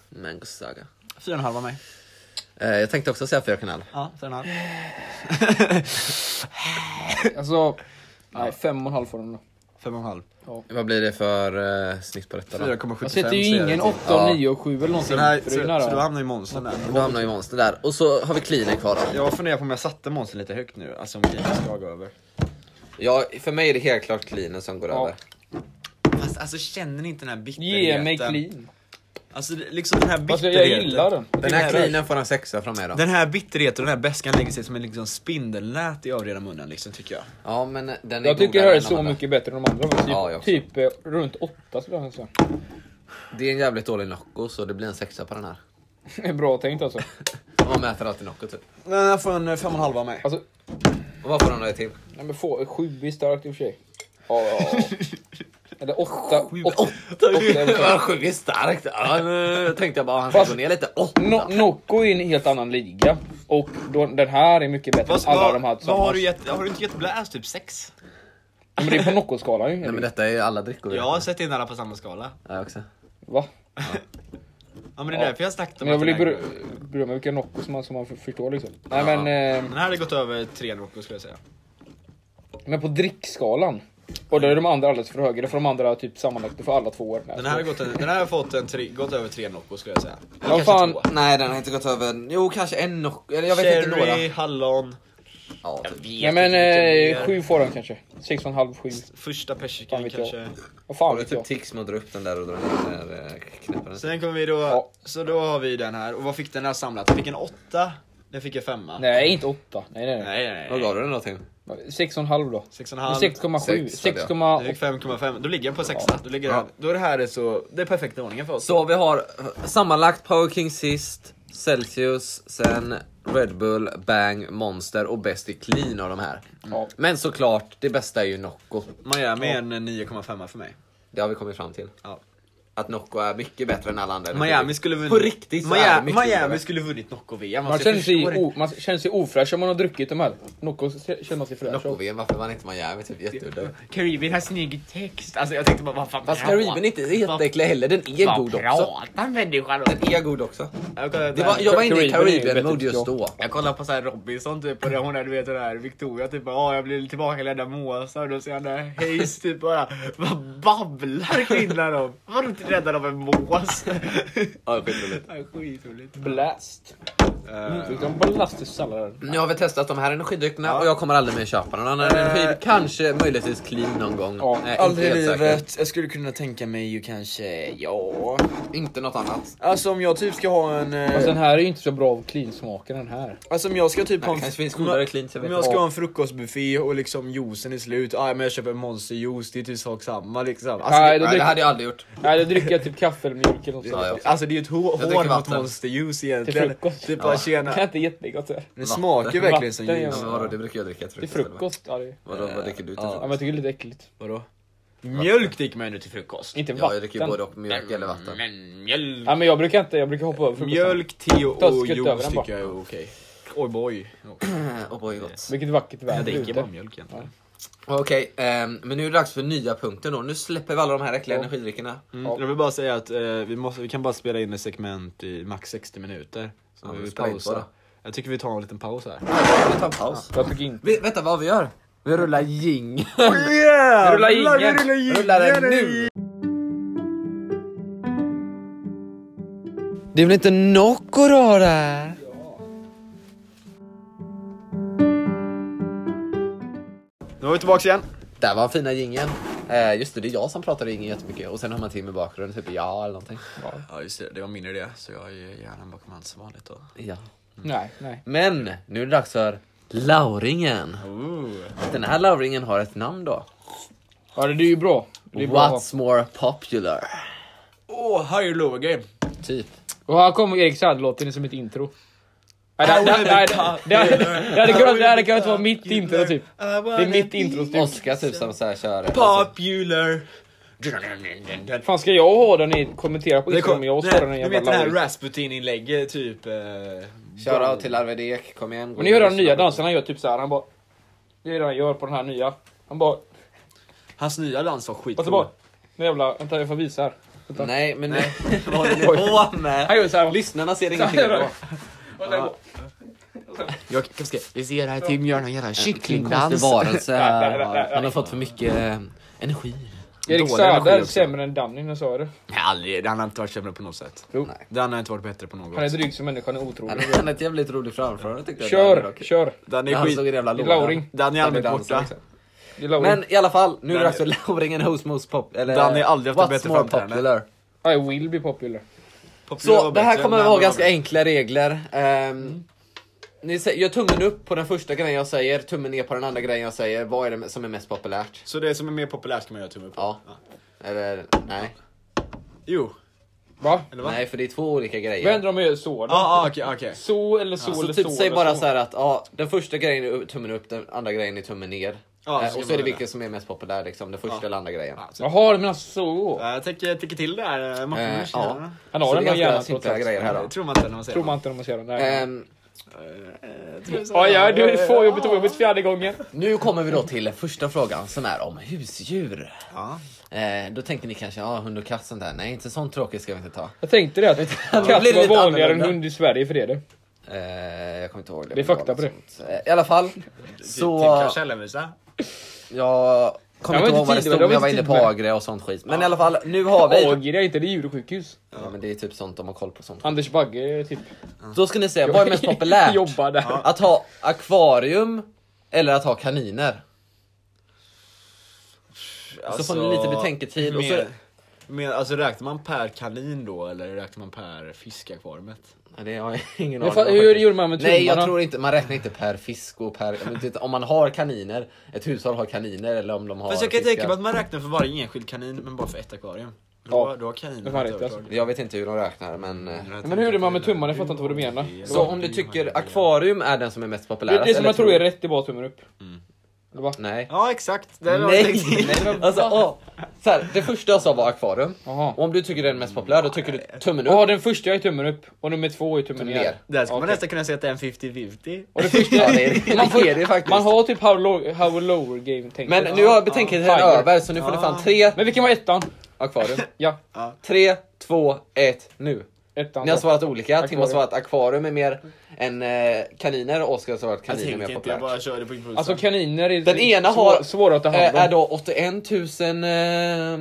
Mango saga.
Fyra och en halva mig.
Eh, jag tänkte också säga 4,5.
Ja, fyra och en halv. (laughs)
Alltså, nej fem och en halv får den då.
Fem och en halv.
Vad blir det för eh, snitt på detta då?
4,75
Jag sätter Alltså, ju
ser jag
ingen
till.
8,
Ja.
9 och 7 eller någonting.
Så, den här,
för
så,
det är ju
så då
nära.
hamnar ju monstern där.
Då hamnar ju monster där. Och så har vi cleaner kvar då.
Jag funderar på om jag satte monstern lite högt nu, alltså om Kina ska gå över.
Ja, för mig är det helt klart cleaner som går
Ja.
över.
Fast alltså känner ni inte den här bitterheten?
Ge mig clean.
Alltså det- liksom den här
Fast jag-
bitterheten.
jag gillar den.
Den
här
här cleanen får en sexa från mig då.
Den här bitterheten och den här beskan lägger sig som en liksom spindelnät i övriga munnen liksom tycker jag.
Ja, men den är
Jag tycker det
godare
här är
än de
så
andra.
mycket bättre än de andra. men Typ,
Ja, jag också.
typ eh, runt 8 skulle jag säga. (laughs)
Det är en jävligt dålig Nocco så det blir en sexa på den här.
Det är Bra tänkt alltså.
Man mäter alltid Nocco typ.
Den här får en eh, fem och en halva av mig.
Alltså,
Och vad får den där till?
nej men få, 7 är starkt i och för sig. Ja, ja,
(laughs)
ja. Eller 8. 8
Jag sjunger starkt. Ja, nu tänkte jag bara han ska
Fast-
gå ner lite. Åh,
No, Nocco är i en helt annan liga. Och då, den här är mycket bättre
Fast
än alla de
vad-
här
vad har
tillsammans.
du gett, har du inte gett Blast typ sex?
Ja, Men det är på Nocco-skalan ju.
Nej men
eller?
detta är ju alla drickor.
Jag har sett in alla på samma skala.
Ja, jag också.
Va?
Ja men det är
Ja.
därför jag snackat
Men
om
jag
att
vill ju
den här-
berö- berömma vilka Nocco som man, som man förstår liksom. Nej men... Eh,
Den här hade gått över tre Nocco skulle jag säga.
Men på drickskalan. Och då är de andra alldeles för höga. Då får de andra typ sammanlagt, då får alla två år.
Den här hade gått, en, den här har fått en tre, gått över tre Nocco skulle jag säga. Eller
Vad
kanske
fan?
två.
Nej den har inte gått över. Jo kanske en Nocco. Eller jag vet inte några.
Cherry, hallon.
Ja, typ.
Nej men
Jättemycket
eh,
mer.
sju får de kanske. Sex och en halv, sju.
Första
Fan
persikan
vet
kanske.
Vad fan
Har du
vet
typ
jag.
tics med att dra upp den där och dra ner den där eh, knäppen?
Sen kommer vi då,
Ja.
så då har vi den här. Och vad fick den här samlat? Jag fick en åtta, den fick en femma.
Nej inte åtta. Nej nej nej.
nej, nej.
Vad gav du den då Tim?
6,5 då.
6,5.
6,7.
Sex hade jag.
Du fick
6,8.
5,5. Då ligger den på 6. Då, ligger den, då är det här är så, det är perfekta ordningen för oss.
Så vi har eh, sammanlagt Power King sist, Celsius, sen Red Bull, Bang, Monster och bäst i clean av de här.
Ja.
Men såklart, det bästa är ju Nocco.
Miami är en 9,5 för mig.
Det har vi kommit fram till.
Ja.
Att Nocco är typ mycket bättre än alla andra.
Miami skulle vunnit.
På riktigt så är det
Miami,
mycket
Miami
bättre.
skulle vunnit Nocco-VM.
Man känner, sig o, man känner sig ofräsch om man har druckit de här. Nocco känner man sig fräsch av.
Nocco-VM, varför vann inte Miami? Typ jätteudda.
Caribbean har sin egen text. Alltså jag tänkte bara, vad fan
Fast Caribbean är inte jätteäcklig heller, den är god också.
pratar människan om?
Den är god också.
Det
Det var, jag var inne i
Caribbean är ju
Caribbean-mode
bättre,
just
ja.
då.
Jag kollar på så här Robinson typ och det hon är du vet den här Victoria typ ja jag blir tillbakaledd av måsar och då ser han där Hayes typ bara vad babblar kvinnan om? Var inte räddad av en
(laughs)
mås?
Ja, skitroligt.
Ja, Skitroligt.
Blast.
Eh.
Mm. De blast i salladen.
Nu har vi testat de här energidryckerna och jag kommer aldrig mer köpa någon annan energi. Kanske möjligtvis clean någon gång.
Ja,
Nej, inte
Aldrig i
helt säker.
livet. Jag skulle kunna tänka mig ju kanske, ja.
Inte något annat.
Alltså om jag typ ska ha en... eh,
Fast den här är ju inte så bra av clean-smaken den här.
Alltså om jag ska typ
Alltså-
ha
Nej,
en...
det kanske finns
om jag-
godare cleans, jag vet
Om jag
inte.
ska ha en frukostbuffé och liksom juicen är slut, ah, men jag köper en monsterjuice, det är typ sak samma liksom. Alltså,
Nej, då
Nej, det
dricker,
hade jag aldrig gjort.
nej, då dricker jag typ kaffe eller mjölk eller något sånt.
Ja, ja.
det, alltså det är ju ett hår,
dricker
hån mot
vatten.
monsterjuice
Till
egentligen.
frukost.
Typ bara
Det
tjena.
är inte jättegott. Det här.
Den smakar ju verkligen som
Vatten, ja.
Ja,
juice.
men vadå, det brukar jag dricka till
Till
frukost.
frukost. Ja, det är...
Vadå, vad dricker du till
Ja.
ja, men
frukost?
jag tycker det är lite äckligt.
Vadå?
Mjölk dricker man ju nu till frukost.
Inte
Ja, jag dricker ju
vatten.
både och mjölk eller vatten.
Men mjölk.
Ja, men jag brukar inte, jag brukar hoppa över frukosten.
Mjölk, te och,
Ta
och
skutt över
juice
den bara.
tycker jag är okej. Oj boy.
Eh, Och boy gott.
Vilket vackert
Jag
väder
dricker bara
ute.
mjölk egentligen.
Okej, ehm, men nu är det dags för nya punkter då. Nu släpper vi alla de här äckliga
Ja.
energidryckerna.
Mm. Jag vill bara säga att eh, vi, måste, vi kan bara spela in ett segment i max 60 minuter. Så
Ja,
vi
men
vill
spela in bara. Oh,
pausa. Jag tycker vi tar en liten paus här.
Vi tar en paus.
Jag tycker inte...
Vi, vänta, vad vi gör? Vi rullar jing.
Yeah!
Rulla ingen!
Rullar den nu! Det är väl inte Nocco då där?
Nu är vi tillbaka igen.
Där var fina gingen. just det, det är jag som pratar ingen jättemycket och sen har man till med bakgrunden, typ ja eller någonting.
Ja just det, det var min idé. Så jag är hjärnan bakom hans som vanligt då.
Ja.
Nej, nej.
Men nu är det dags för Lauringen.
Ooh.
Den här Lauringen har ett namn då.
Ja, det är ju bra. Det är bra.
What's more popular?
Oh, higher lower game.
Typ.
Och här kommer Erik Saade-låten som ett intro. Nej, det, det, nej, det, det, det, hade kunnat, det hade kunnat vara mitt intro typ. Det är mitt intro typ.
Oskar typ som så här kör. Alltså,
Popular.
Fan ska jag ha den i kommentera på
Det
Instagram
kom,
om jag
du
står den i
vet
jävla
den här
Lauri?
Rasputin-inlägget typ. Eh,
Kör av till Arvedek, kom igen. gå
Men ni hör
in och
den nya
lyssna på-
dansen han gör typ så här. han bara... Det är det han gör på den här nya. Han bara...
hans nya dans var skit.
Och så bara... Nu jävla... Vänta jag får visa här. Vänta.
Nej men (laughs) nej.
Vad håller ni på med?
Han gör såhär...
lyssnarna ser ingenting idag.
Jag kan ska, vi ser här Tim gör någon jävla
Konstig
kycklingdans.
varelse.
där, där, där.
Han har fått för mycket eh, energi.
Erik
Dålig
Saade
energi
är
också.
sämre än Danny, när jag sa det.
Nej, aldrig, han har inte varit sämre på något sätt.
Jo.
Nej.
Den har inte varit bättre på något.
Han är dryg som människa, han är otrolig.
Han hade ett jävligt roligt framförande tyckte jag.
Kör! Kör!
Den
När
är
han
skit.
stod i den jävla
Det är
lådan.
Lauring.
Den är
Han
allmänt borta.
dansade, liksom.
Det är Lauri.
Men i alla fall, nu är det
Den
dags för Lauringen Host Most Pop. Eller,
Den har ju aldrig haft en
What's
bättre
more
framträdande.
popular.
I will be popular.
Popular
Så
var
det här
bättre,
kommer
den
att vara
var
ganska
bättre.
enkla regler. Um, ni sä- gör tummen upp på den första grejen jag säger, tummen ner på den andra grejen jag säger. Vad är det som är mest populärt?
Så det som är mer populärt kan man göra tumme upp på?
Ja. Eller nej.
Jo,
Va?
eller vad?
Nej, för det är två olika grejer.
Vad händer om jag gör så då?
Ja, ah, okej, okej.
Så eller så
Så
eller
typ
så.
säg
eller
bara
så.
så här att ja, den första grejen är upp- tummen upp, den andra grejen är tummen ner.
Ja,
Eh,
så gör
och så är
man
det
det.
vilken som är mest populär, liksom, den första
Ja.
eller andra grejen.
Ja, så-
Jaha, du menar alltså, så.
Ja, Jag Eh, tänker, tänker till det här, eh, Martin.
Eh,
Uh,
ja.
ja.
Han
Så
har den
det
där
är ganska
hjärnan trots
simpla
allt.
grejer här då.
Det tror man inte när man säger
Tror man inte när man ser den. Nej.
Ehm,
Ja, ja, du får jobbet och jobbet fjärde gången.
nu kommer vi då till första frågan som är om husdjur.
Ja.
Eh, då tänker ni kanske, ja hund och katt sånt där. Nej, inte sånt tråkigt ska vi inte ta.
Jag tänkte det att
Det blir
katt var
lite
vanligare än
annorlunda.
hund i Sverige för det är det.
Eh, jag kommer inte ihåg det.
Det är fakta på (laughs) det.
Eh, I alla fall.
Typ
Så
kanske Källarmusa.
jag kommer
Jag var inte
inte ihåg vad det
tidig,
stod,
jag
men
var
jag var
inte
inne på
tidig med-
Agria och sånt skit. Men i alla fall, nu har vi...
Åger är inte, det är djursjukhus.
Ja, men det är typ sånt de har koll på. sånt.
Anders Bagge typ.
Då ska ni säga, vad
(laughs)
är mest populärt?
Jobbar där.
Att ha akvarium eller att ha kaniner? så får ni lite betänketid. Och så,
mer- Men alltså räknar man per kanin då eller räknar man per fiskakvariumet?
Nej, det har jag (laughs) ingen
Men
aning
fa-
om
hur
faktiskt.
gjorde man med
Nej, jag
tummarna?
tror inte, man räknar inte per fisk och per... men titta, Om man har kaniner, ett hushåll har kaniner eller om de har
Fast jag kan
fiskar.
tänka mig att man räknar för varje enskild kanin men bara för ett akvarium. Då,
Ja.
då har
Det
kaninen
var
ett
rätt, alltså.
övertag.
Jag vet inte hur de räknar men... eh,
Men hur gjorde man med tummarna? Jag fattar inte vad du menar.
Så om du tycker akvarium är den som är
Mm.
mest
Det,
populär? alltså,
det som jag tror är rätt, det är bara tummen upp.
Mm.
Eller va?
Nej.
Ja exakt, det var
Nej!
Nej.
(laughs) Alltså, åh. Så här, det första jag sa var akvarium.
Jaha.
Och om du tycker den är mest populär då tycker du tummen
Ja,
upp.
den första är tummen upp och nummer två är tummen
Tummen
ner.
ner.
Där skulle man
Okej.
nästan kunna säga att det är en 50-50.
Och det första,
(laughs) Ja, det
(laughs)
är-
man, får,
det är det faktiskt.
man har typ how, low, how lower game tänker
Men
jag.
nu har betänketiden
Tiger.
över så nu får det fan
Ja.
tre
Men vilken var ettan?
akvarium.
Ja,
Tre, två, ett, nu.
ettan.
Ni har svarat olika. Tim har
Akvarium.
svarat akvarium är mer än eh, kaniner och Oskar har svarat
Jag
kaniner är
tänker
mer
inte, jag
populärt.
bara körde på impulsen.
Alltså kaniner är
Den ena
svår,
har-
svåra att ta hand
Eh,
om.
Är då 81 000 eh,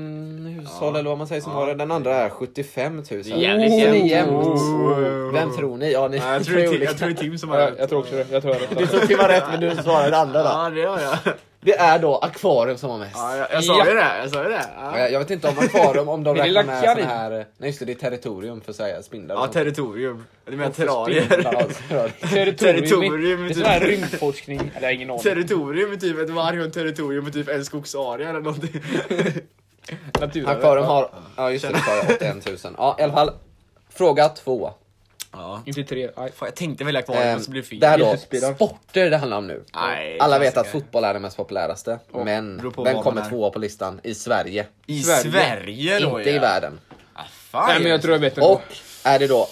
hushåll
Ja.
eller vad man säger som
Ja.
har det. Den andra är 75 000.
Det är jävligt
Så det är
jämnt.
jämnt.
Oh.
Vem tror ni? Ja, ni
Ja, jag, tror
tre
det är Tim-
olika.
jag tror det är Tim som har
Ja,
rätt.
jag tror också det. Jag tror jag har
Du
rätt.
tog till var rätt men du svarade det andra då.
Ja det gör jag.
Det är då akvarium som har mest.
Ja, jag, jag sa ju det, jag sa ju det.
Ja,
Ja,
Jag jag vet inte om akvarium, om de
Min lilla
räknar med sån
kanin.
här... eh, Nej just det, det är territorium för så här, spindlar. och
ja
sånt.
territorium. Du menar
Spindlar,
terrarier?
alltså, terrarier.
Territorium,
Det är
typ.
sån här rymdforskning. Nej, Jag har ingen aning.
(laughs) Territorium är typ ett varg och ett territorium är typ en skogsarea eller någonting.
Naturen.
Akvarium har... Ja just det, det sa jag, 81 000. Ja i alla fall. Fråga två.
Ja.
Inte tre. Nej.
Fan, jag tänkte välja
Ehm,
akvarium och så blev det fel.
där då,
Jättespelare.
sporter det handlar om nu.
Nej,
Alla vet att
klassiker.
fotboll är den mest populäraste, men
beror på
vem
vad man
kommer
är.
tvåa på listan i Sverige?
I
Sverige.
Sverige, då
Inte i världen.
Ah, fan,
Nej men jag tror jag vet ändå.
Och är det då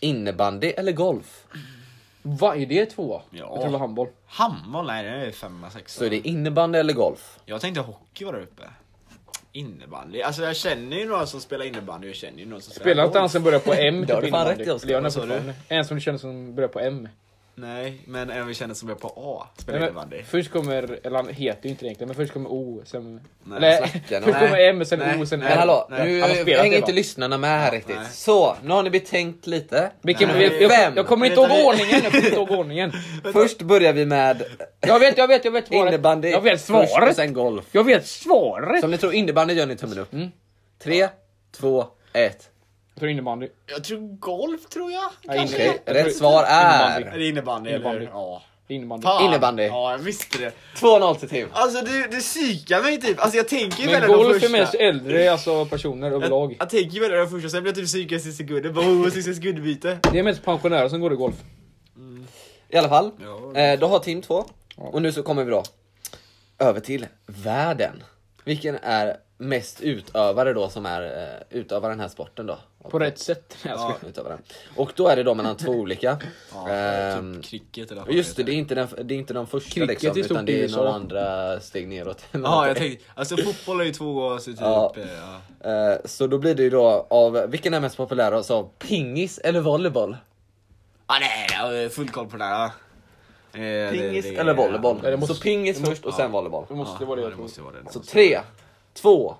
innebandy eller golf?
Vad är det tvåa?
Ja.
Jag tror det var handboll.
Handboll? Nej det är femma, sexa.
Så är det innebandy eller golf?
Jag tänkte hockey var där uppe. Innebandy. Alltså jag känner ju några som spelar innebandy och jag känner ju någon som spelar
Spelar inte han
golf.
som börjar på M?
(laughs) Det har du fan
innebandy?
rätt i, Oskar.
Det gör han
Vad sa du?
fortfarande. En som du känner som börjar på M.
Nej, men en vi känner som börjar på A spelar
Nej,
innebandy.
men, först kommer, eller han heter ju inte det egentligen, men först kommer O, sen...
Nej,
eller,
snacka nu.
först kommer
Nej,
M, sen
nej,
O, sen
nej,
Men
R.
hallå,
nej.
nu
Han har spelat
hänger
det,
inte
va?
lyssnarna med här riktigt.
nej.
Så, nu har ni betänkt lite.
Vilken,
Nej,
jag, jag, jag,
vem?
kommer inte ihåg
Vänta, vi-
ordningen, jag kommer inte ihåg ordningen.
Först börjar vi med
Jag vet, jag vet, jag vet svaret.
innebandy,
Jag vet
först och
svaret.
sen golf.
Jag vet svaret.
Som ni tror innebandy gör ni tummen upp.
Mm.
Tre, två, ett.
Jag tror innebandy.
Jag tror golf tror jag.
Nej,
kanske.
Okej,
Jag
rätt
tror-
svar
Är
är
det innebandy,
Innebandy.
eller? Ja.
Innebandy.
Fan.
Innebandy.
Ja, jag visste det.
2-0 till Tim.
Alltså du, du psykar mig typ. Alltså jag tänker ju
Men
välja de
golf
första.
är mest äldre alltså, personer
jag,
överlag.
jag tänker ju välja de första, sen blir jag typ psykad i sista sekunden. Bara oh, sista sekundbyte.
Det är mest pensionärer som går i golf.
I alla fall,
Ja.
eh, då har Tim två. Och nu så kommer vi då över till världen. Vilken är mest utövare då som är eh, utövar den här sporten då?
På rätt sätt. Nej, jag skojar.
Utövaren. Och då är det då mellan
(laughs)
två olika. Ehm,
typ cricket eller
och just det, det är inte den, det är inte den första
Cricket är
liksom,
stort
utan
i
det är
USA.
några andra steg neråt. Eh,
Ja,
(laughs)
jag tänkte, alltså fotboll är ju två år så typ...
Ja.
eh, Ja.
Eh, så då blir det ju då av, vilken är mest populär? Alltså pingis eller volleyboll?
Ah, nej, jag har full koll på det här. Eh, det-
Pingis
det-
eller volleyboll?
Ja, det måste-
så pingis först och sen volleyboll.
Det måste
Ja,
vara det.
ja,
jag tror.
måste vara det.
Så tre, två,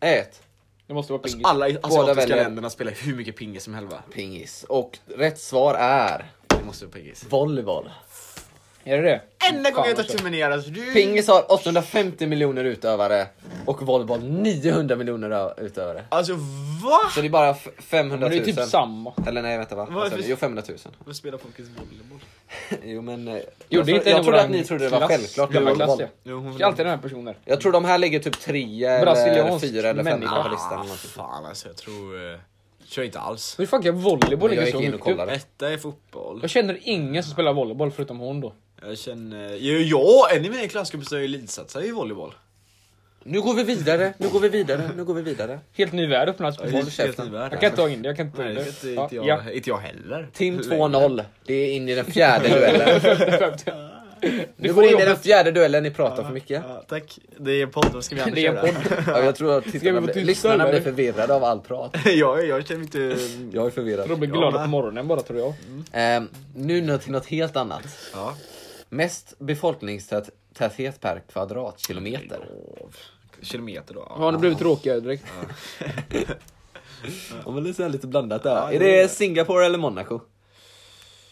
ett.
Det måste vara pingis.
Alla
Båda
asiatiska
väljer-
länderna spelar hur mycket pingis som helst va?
Pingis. Och rätt svar är
Det måste vara pingis.
volleyboll.
Är det det?
Enda gången jag
vad
tar tummen ner alltså. Du...
Pingis har 850 miljoner utövare och volleyboll 900 miljoner ö- utövare.
Alltså va?
Så det är bara f-
Men
500
det
000.
är typ samma.
Eller nej vänta va?
Vad är
Alltså,
det-
jo 500 000.
Vad spelar folkets volleyboll?
(laughs) Jo men... eh,
Jo,
jag,
det är
tro-
inte
jag
en
trodde att
våran
ni trodde det var
klass.
självklart
Vi
med
har en klass,
volleyboll.
ja.
Jo, hon
Det är alltid den här personen.
Jag tror de här ligger typ 3 eller
Brasiliansk
4 eller 5
människa.
på listan. eller
Ah,
någonting.
fan alltså jag tror... eh, Jag tror inte alls.
Hur fan kan volleyboll
Men
ligga
jag gick
så
in och
högt
kollade.
upp?
Detta är fotboll.
Jag känner ingen som spelar volleyboll förutom hon då.
Jag känner... Jo, ja, en i mina klasskompisar har ju elitsatsar i volleyboll.
Nu går vi vidare, nu går vi vidare, nu går vi vidare.
Helt ny värld öppnats.
Ja,
Håll
just- helt
käften.
ny värld.
Jag kan inte ta in det, jag kan inte ta
Nej,
in
det
det.
ska inte, inte,
Ja, (laughs)
jag, inte jag heller.
Tim 2-0, det är in i den fjärde duellen. Nu
får
går vi in i
jobbet.
den fjärde duellen, ni pratar för mycket.
Ja, tack. Det är en podd, vad ska vi
ja.
annars
Det är en
göra? (laughs)
podd.
Ja, jag tror att tittarna
få
blir,
tysta,
lyssnarna
eller?
blir förvirrade av allt prat.
jag, jag känner inte...
Jag är
De
förvirrad.
blir glada på morgonen bara tror jag.
Ehm, nu nå- till något helt annat.
Ja.
Mest befolkningstäthet per kvadratkilometer.
Kilometer då.
Ja, det blev tråkigare direkt.
Om man lite blandat där.
Ja,
är
det
det
är det.
Singapore eller Monaco?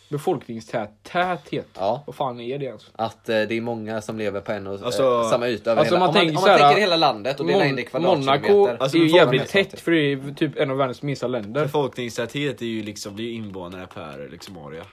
befolkningstät, täthet.
Ja.
Vad fan är det alltså? ens?
Att eh, det är många som lever på en och eh,
Alltså-
samma yta över
alltså
hela.
man
Om man,
tänker
om
så
man
här,
tänker hela landet och delar in det i
Mon- Monaco
kvadratkilometer.
Alltså,
är ju
frågan
jävligt
är så att-
tätt för det är typ en av världens minsta länder.
Befolkningstäthet är ju liksom, blir ju invånare per liksom area.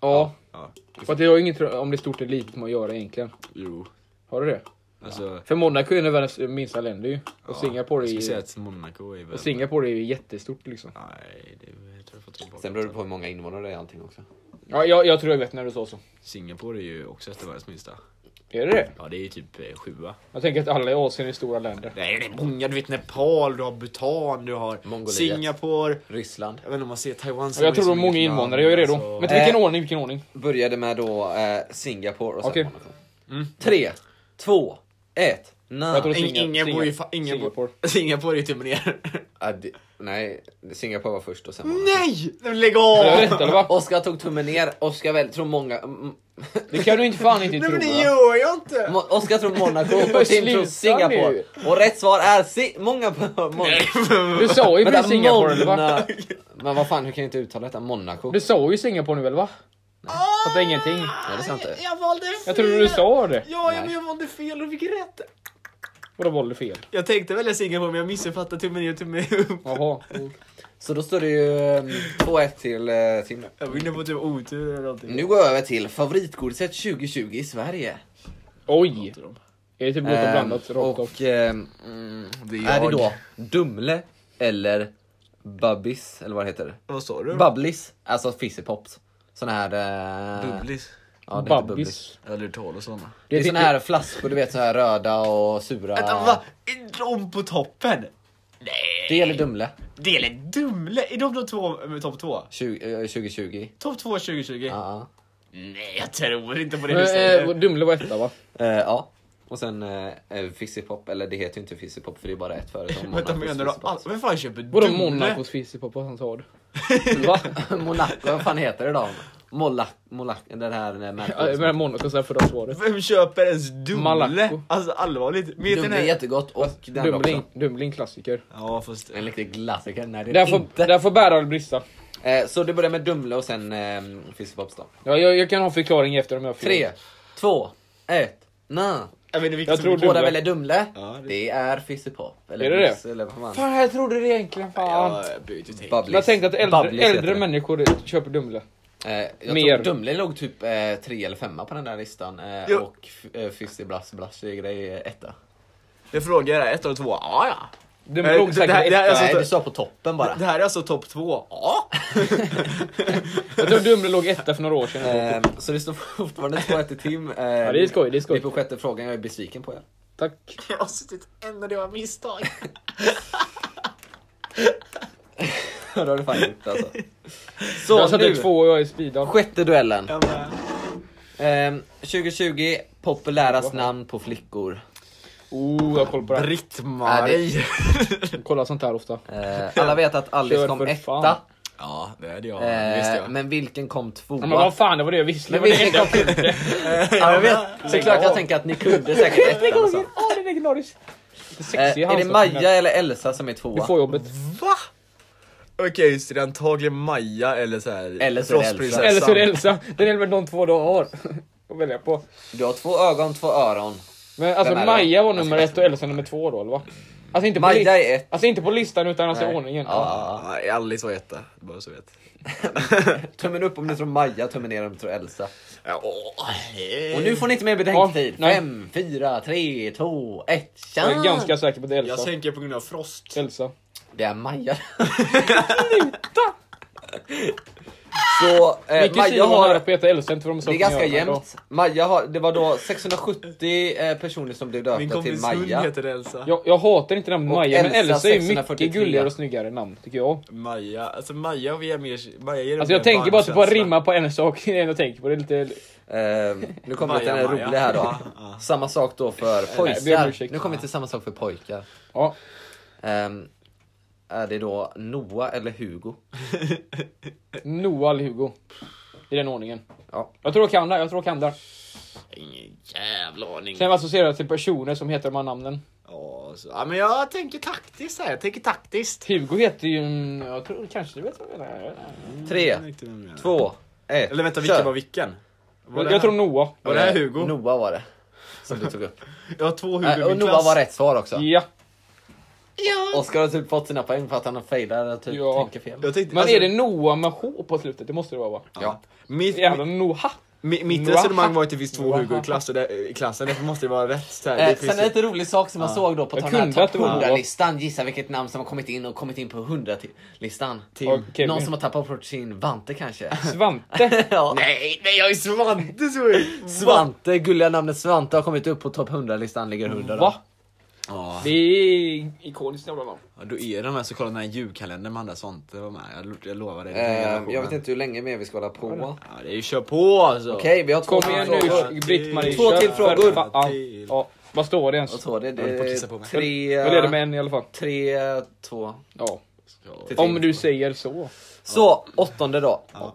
Ja.
Ja,
För att det har ju inget om det är stort eller litet med att göra egentligen.
jo.
Har du det?
Alltså,
För Monaco är en av världens minsta länder ju. Och Singapore är
Jag skulle säga
ju...
att Monaco är väl...
Och Singapore är ju jättestort liksom.
Nej, det tror jag får ta tillbaka.
Sen beror det på hur många invånare det är i allting också.
Ja, jag, jag tror jag vet när du sa så.
Singapore är ju också ett av världens minsta.
Är det det?
Ja, det är ju typ eh, sjua.
Jag tänker att alla i Asien är stora länder.
Nej, det är många. Du vet Nepal, du har Bhutan, du har
Mongoliet.
Singapore.
Ryssland.
Jag vet inte om man ser Taiwan alltså-
Och jag tror det är många invånare, jag är redo. Men till
Eh.
vilken ordning, vilken ordning?
Började med då eh, Singapore och sen
Okej. Mm.
Monaco. Tre, två, ett.
Jag tror
Nej.
Singa-
Ingen bor ju fa-
Singa-
ingen
Singapore.
bor- (laughs) Singapore är ju typ tummen ner.
Ah, det- Nej, Singapore var först och sen Monaco.
Nej! men Lägg
Har jag
av!
rätt eller va?
Oskar tog tummen ner, Oskar väl, tror många... mm,
Det kan du inte fan inte
Nej
tro.
men det
va?
gör jag inte!
Mo- Oskar tror
(laughs)
Monaco
Men
och Tim tror
sluta
Singapore.
nu.
Och rätt svar är si- många... på- Mon-
Du sa ju
Vänta,
precis Singapore eller va?
Mona- Men vad fan, hur kan jag inte uttala detta? Monaco?
Du sa ju Singapore nu eller va? Fattar ingenting.
Nej, det sa jag inte.
Ah, Jag valde fel!
Jag trodde du sa det.
Ja, ja,
Nej.
men jag valde fel och fick rätt.
Vadå valde du fel?
Jag tänkte välja Singapore men jag missuppfattade tummen ner och tummen upp.
Jaha.
Så då står det ju mm, 2-1 till eh, Tim. nu.
Jag vinner på typ otur eller någonting.
Nu går jag över till favoritgodiset 2020 i Sverige.
Oj! Är det typ gott och
Ehm,
blandat rakt av?
och ehm, mm,
Det
är det då Dumle eller Bubbis, eller vad det heter?
Vad sa du?
Bubblis, alltså fizzypops. Sån här... eh,
Bubblis.
Ja, det heter Bubblis.
Babbis.
Jag har aldrig hört talas om det.
Det är
Det-
såna här flaskor, du vet så här röda och sura.
Vänta, va? Är de på toppen? Nej!
Det gäller Dumle.
Det är Dumle! Är de de två med topp två?
20, eh, 2020.
Topp två 2020?
Ja.
Nej, jag tror inte på det du
Eh,
säger.
eh, Dumle var etta va?
Eh, ja. Och sen eh, eh, Fizzypop, eller det heter ju inte Fizzypop för det är bara ett företag.
(laughs) Vänta,
Monacos
menar du all...
Fizzypops.
Vem fan köper
Vadå
Dumle?
Monacos fizzypop, vad han sa du? (laughs) Va?
(laughs) Monaco, vad fan heter det då? Molac, Molac, den här... eh,
Ja,
märket.
Jag menar Monaco så här för det svaret.
Vem köper ens Dumle?
Malaco.
Alltså allvarligt. Vet ni Alltså,
Dumle är jättegott och den
Dumling,
också.
Dumling klassiker.
Ja, fast...
En riktig klassiker. Nej, det är
Där
det
får,
inte.
där får bära eller brista.
Eh, så det börjar med Dumle och sen eh, Fizzypops då.
Ja, jag, jag kan ha förklaring efter om jag har fel.
Tre, två, ett, na.
Jag, vet, vilket
Jag
som
tror
är-
Dumle.
Båda väljer Dumle.
Ja, det-
Det är Fizzypop. Eller
Är det det?
Bliss, Eller vad fan.
Fan, jag trodde det egentligen. Fan.
Ja, jag byter tänk.
Bubblis.
jag tänkte att
Bubblis
äldre,
heter
äldre
det.
människor köper Dumle.
Eh, jag
Mer.
tror Dumle låg typ eh, tre eller femma på den där listan eh,
Jo.
och f- eh, Fizzy Blass Blass är grej eh, etta.
Jag frågar här, ett och två. Ja, ja.
Dumle
Eh,
låg
det
säkert
här- det här-
etta.
alltså,
Nej
ta-
du sa på toppen bara.
Det här är alltså topp två. Ja.
Jag tror Dumle låg etta för några år sedan.
Eh, så det står fortfarande 2-1 till Tim. Eh, ja,
det är skoj, det är skoj.
Vi är på sjätte frågan, jag är besviken på er. (laughs)
Tack.
Jag har suttit en och alltså typ det var (laughs) misstag.
det har du fan gjort alltså.
jag
Så
satte
nu,
två och jag är speedad.
sjätte duellen.
Jag bara,
Eh, 2020, populärast namn på flickor.
Oh, jag har koll på det här.
Britt-Marie.
Kolla sånt här ofta.
Eh, alla vet att Alice
Kör
kom
för
etta,
fan.
Ja, det är det jag.
eh, men vilken kom tvåa?
Men vad fan, det var det jag visslade.
Men
Det var det enda
vilken kom
jag kunde.
(laughs) Ja, jag vet. Såklart jag tänker att ni kunde säkert
Sjätte
ettan och så.
gången! Åh, det är legendariskt. Det
Eh,
sexiga
är det Maja eller Elsa som är
Du
tvåa?
får jobbet.
Va? Okej, så det är antagligen Maja eller så här.
Eller så är det
Frostprinsessan.
Eller så är det Elsa. Den är väl de två du har att välja på.
Du har två ögon, två öron.
Men alltså
Vem är det?
Maja var
Jag
nummer
ska-
ett och Elsa nummer två då, eller va? Alltså inte på,
Maja
lis-
är ett.
alltså, inte på listan utan alltså i
Nej.
ordningen.
Ja.
Nej, Alice var etta. Bara så vet.
Tummen upp om ni tror Maja, tummen ner om ni tror Elsa.
Ja, åh,
Och nu får ni inte mer betänketid.
Ja, nej.
Fem, fyra, tre, två, ett. Tja!
Jag är ganska säker på att det är
Jag
Elsa.
tänker på grund av Frost.
Elsa.
Det är Maja. (laughs) Så
Min
eh,
kusin
Maja
var nära på
har...
att heta Elsa, inte för de
Det är
sakerna
ganska
jag gör, men då-
jämnt. Maja har, det var då 670 eh, personer som blev
Min
döpta till
kompis hund
Maja.
heter Elsa.
Jag, jag hatar inte namnet
Och
Maja, men
Elsa
Elsa är ju
643.
mycket gulligare och snyggare namn, tycker jag.
Maja, alltså Maja och vi är mer... Maja ger
Alltså jag tänker bara typ på att rimma på en sak (laughs) innan jag tänker på det. är Lite...
Eh, nu kommer vi till
Maja,
en
Maja.
rolig här då.
Ja, ja.
Samma sak då
ber
för
om
pojkar.
ursäkt.
Nu kommer vi till samma sak för pojkar.
Ja.
Ehm, är det då Noah eller Hugo?
Noah eller Hugo. I den ordningen.
Ja.
Jag tror jag kan det, jag tror jag kan det.
(laughs) Ingen jävla aning.
Sen associerar jag till personer som heter de här namnen.
Ja, så, ja, men jag tänker taktiskt här. Jag tänker taktiskt.
Hugo heter ju... mm, Jag tror kanske du vet vad jag menar.
Tre,
Jag vet inte vem jag är.
två, Eh,
Eller vänta,
kör.
vilken var vilken? Var det
Jag tror
han?
Noah.
Var det här Hugo?
Noah var det. Som du tog upp.
Jag har två Hugo
Nej,
i
Äh, och
min
Noah
klass.
var rätt svar också.
Ja.
Oskar har typ fått sina poäng för att han failar och typ
Ja.
tänker fel.
Jag tänkte,
Men
alltså,
är det Noah med H på slutet? Det måste det vara va?
Ja.
Mitt,
Jävla Noah.
mi- mitt
Noah.
resonemang var att det finns två
Noah.
Hugo i, klass, och det, i klassen, därför måste det vara rätt. Så här, det
Eh,
finns
sen en
ju-
lite rolig sak som man såg då på
Jag
ta den
kunde
här
att det
topp
var Noah.
100-listan. Gissa vilket namn som har kommit in och kommit in på 100-listan.
Tim.
Och Kevin.
Någon som har tappat bort sin Vante kanske?
Svante.
(laughs) ja.
Nej, nej jag är Svante så är-
Svante, gulliga namnet Svante har kommit upp på topp 100-listan, ligger 100 då.
Va?
Ja,
Det är ikoniskt jävla namn.
då är de här så kolla den här julkalendern med Anders Svante var med. Jag, lo- jag lovar dig. det är den
Eh,
generationen.
jag vet inte hur länge mer vi ska hålla på. Okej,
Ja, det är ju kör på alltså.
vi har två
Kom igen
till frågor.
nu Britt-Marie.
Två
kör
till
för
frågor.
fan.
Till.
Ja. Vad står det
Och
ens?
två, det, det,
Jag håller på att kissa på mig.
tre,
Jag leder med en i alla fall.
tre, två.
Ja.
till
Om
tre.
du säger så.
Så, åttonde då.
Ja.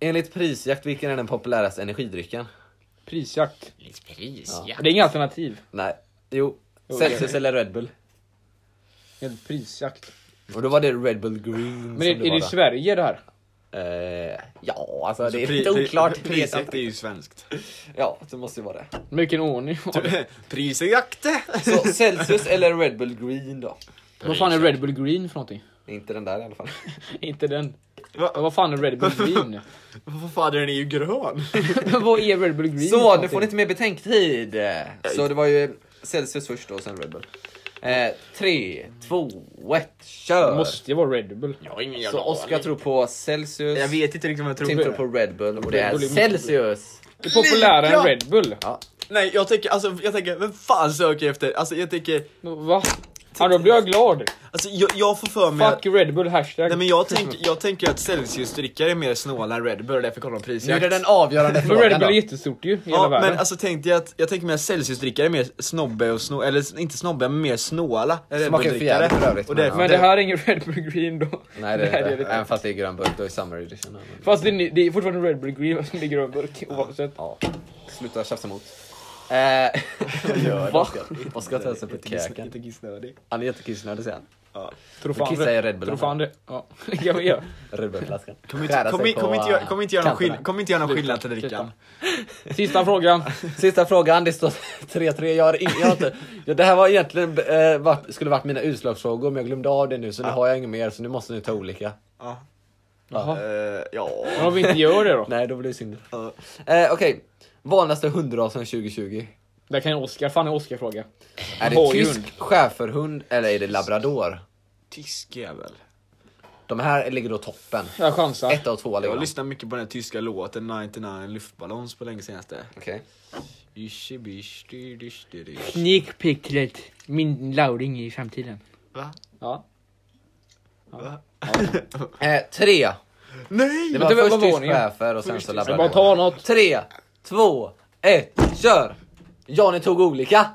Enligt Prisjakt, vilken är den populäraste energidrycken?
Prisjakt.
Pris, ja.
Det är inga alternativ.
Nej, jo.
Jo,
Celsius eller Red Bull.
En prisjakt.
Och då var det Red Bull Green
Men är, är det i Sverige det här?
Eh, ja, alltså det är lite oklart.
Priset är ju svenskt.
Ja, det måste ju vara det.
Vilken ordning
Typ.
var det?
(laughs) Prisjakte! (laughs)
Så Celsius eller Red Bull Green då?
Vad fan är Red Bull Green för någonting?
Inte den där i alla fall.
Inte den.
Va-
Men Vad fan är
(laughs)
Red Bull Green?
Vad fan, den är ju grön.
Men (laughs) Vad är Red Bull Green?
Så,
för
nu får ni
någonting?
inte mer betänktid. Så det var ju Celsius först då och sen Red Bull. Eh, tre, två, ett,
Det
kör!
måste ju vara Red Bull.
Jag har ingen
Så Oskar tror på Celsius,
Jag vet inte riktigt vad jag tror.
Tim tror på Red Bull och det
Red
är
Bull är
Celsius!
Det är populärare än
Lika!
Red Bull.
Nej, jag tänker, alltså, jag tänker, vem fan söker jag efter? Alltså jag tänker,
Va? Ja, då blir jag glad.
alltså jag, jag får för mig att...
Fuck Red Bull hashtag.
Nej men jag, tänk, jag tänker att Celsius-drickare är mer snåla än Red Bull, därför kollar de
Nu är
prisjakt.
det den avgörande
Men Red
frågan
Bull är
då.
jättestort ju i hela
Ja,
världen.
men alltså tänkte jag att, jag tänker mig att Celsius-drickare är mer snobbe och snå, eller inte snobbe, men mer snåla än Red
Smakar ju för jävligt för
Bull-drickare.
övrigt,
Och
men
därför-
Men det här är ingen Red Bull Green då. (laughs)
Nej det
här
är det inte. Även fast det är grön burk, då är Summer Edition. Men-
Fast det är, ny- det är fortfarande Red Bull Green som ligger över burk oavsett.
Ja, sluta
(laughs)
tjafsa emot. Eh, (laughs)
Gör det,
va?
Oskar.
Oskar tar sig på
Inte kiss-
käken.
Inte kissnödig.
Han är jättekissnödig säger han.
Ja.
Tror
Men
fan
kissa
det.
i Red Bull.
Tror fan det. Ja, (laughs) det kan vi göra.
Red Bull-flaskan.
Kommer
Skära
inte,
sig
kom,
på,
kom inte, göra- kom inte göra någon
kanterna.
skill- kom inte göra någon
Sluta,
skillnad till drickan.
Sista frågan.
Sista frågan, det står (laughs) 3-3. Jag har ing- jag har inte, ja, det här var egentligen, eh, var, skulle varit mina utslagsfrågor men jag glömde av det nu så nu har jag inget mer så nu måste ni ta olika.
Ja.
Jaha.
Eh, ja.
Men om vi inte gör det då?
Nej, då blir det synd.
Ja.
Eh, Okej, vanligaste hundrasen 2020?
Där kan Oskar, fan en Oskar-fråga.
Är det
Hojhund.
tysk schäferhund eller är det labrador?
Tysk jävel.
De här ligger då toppen.
Jag chansar.
Ett och två ligger
Jag
de.
lyssnade mycket på den här tyska låten 99 luftballons på länge senaste.
Okej.
Ishi bish, di dish, di dish.
Sneakpicklet, min lauring i framtiden.
Va?
Ja.
Va?
Eh, tre.
Nej!
Det
Men
var
det var- vad
först
var
tysk
ordningen?
schäfer och sen så
Jag bara
labrador.
ta något.
Tre, två, ett, kör! Ja, ni tog olika.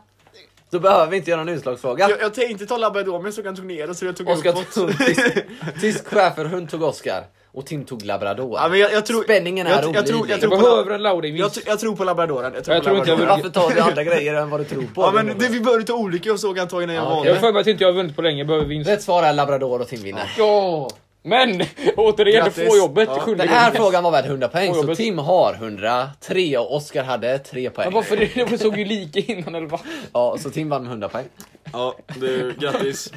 Då behöver vi inte göra någon utslagsfråga.
Jag, jag tänkte ta labrador men så kan jag tog ner den så jag tog
Oskar
uppåt.
tog tysk, tysk schäferhund tog Oskar och Tim tog labrador.
(laughs) Ja, men jag, jag tror,
Spänningen är
jag, jag, jag, tror,
olidlig.
jag,
Jag
tror på
behöver
lab-
en lauring
jag,
minst.
tr- jag tror på labradoren. Jag tror,
Jag
på
tror inte jag
labradoren.
vill-
Varför tar du andra grejer än vad du tror på?
Ja men det, vi började ta olika jag såg antagligen när jag
Ja,
valde.
Jag har för mig att inte jag har vunnit på länge, jag behöver vinst.
Rätt svar är labrador och Tim vinner.
Ja! Men! (laughs) Återigen, du
Grattis.
får jobbet.
Ja.
Sjunde
Den här
gången.
frågan var värd 100 poäng
Oj,
så
jobbigt.
Tim har 103 och Oskar hade 3
Men
poäng.
varför? (laughs) Det det såg ju lika innan eller vad?
Ja, så Tim vann med 100 poäng.
Ja, du,
(laughs)
grattis.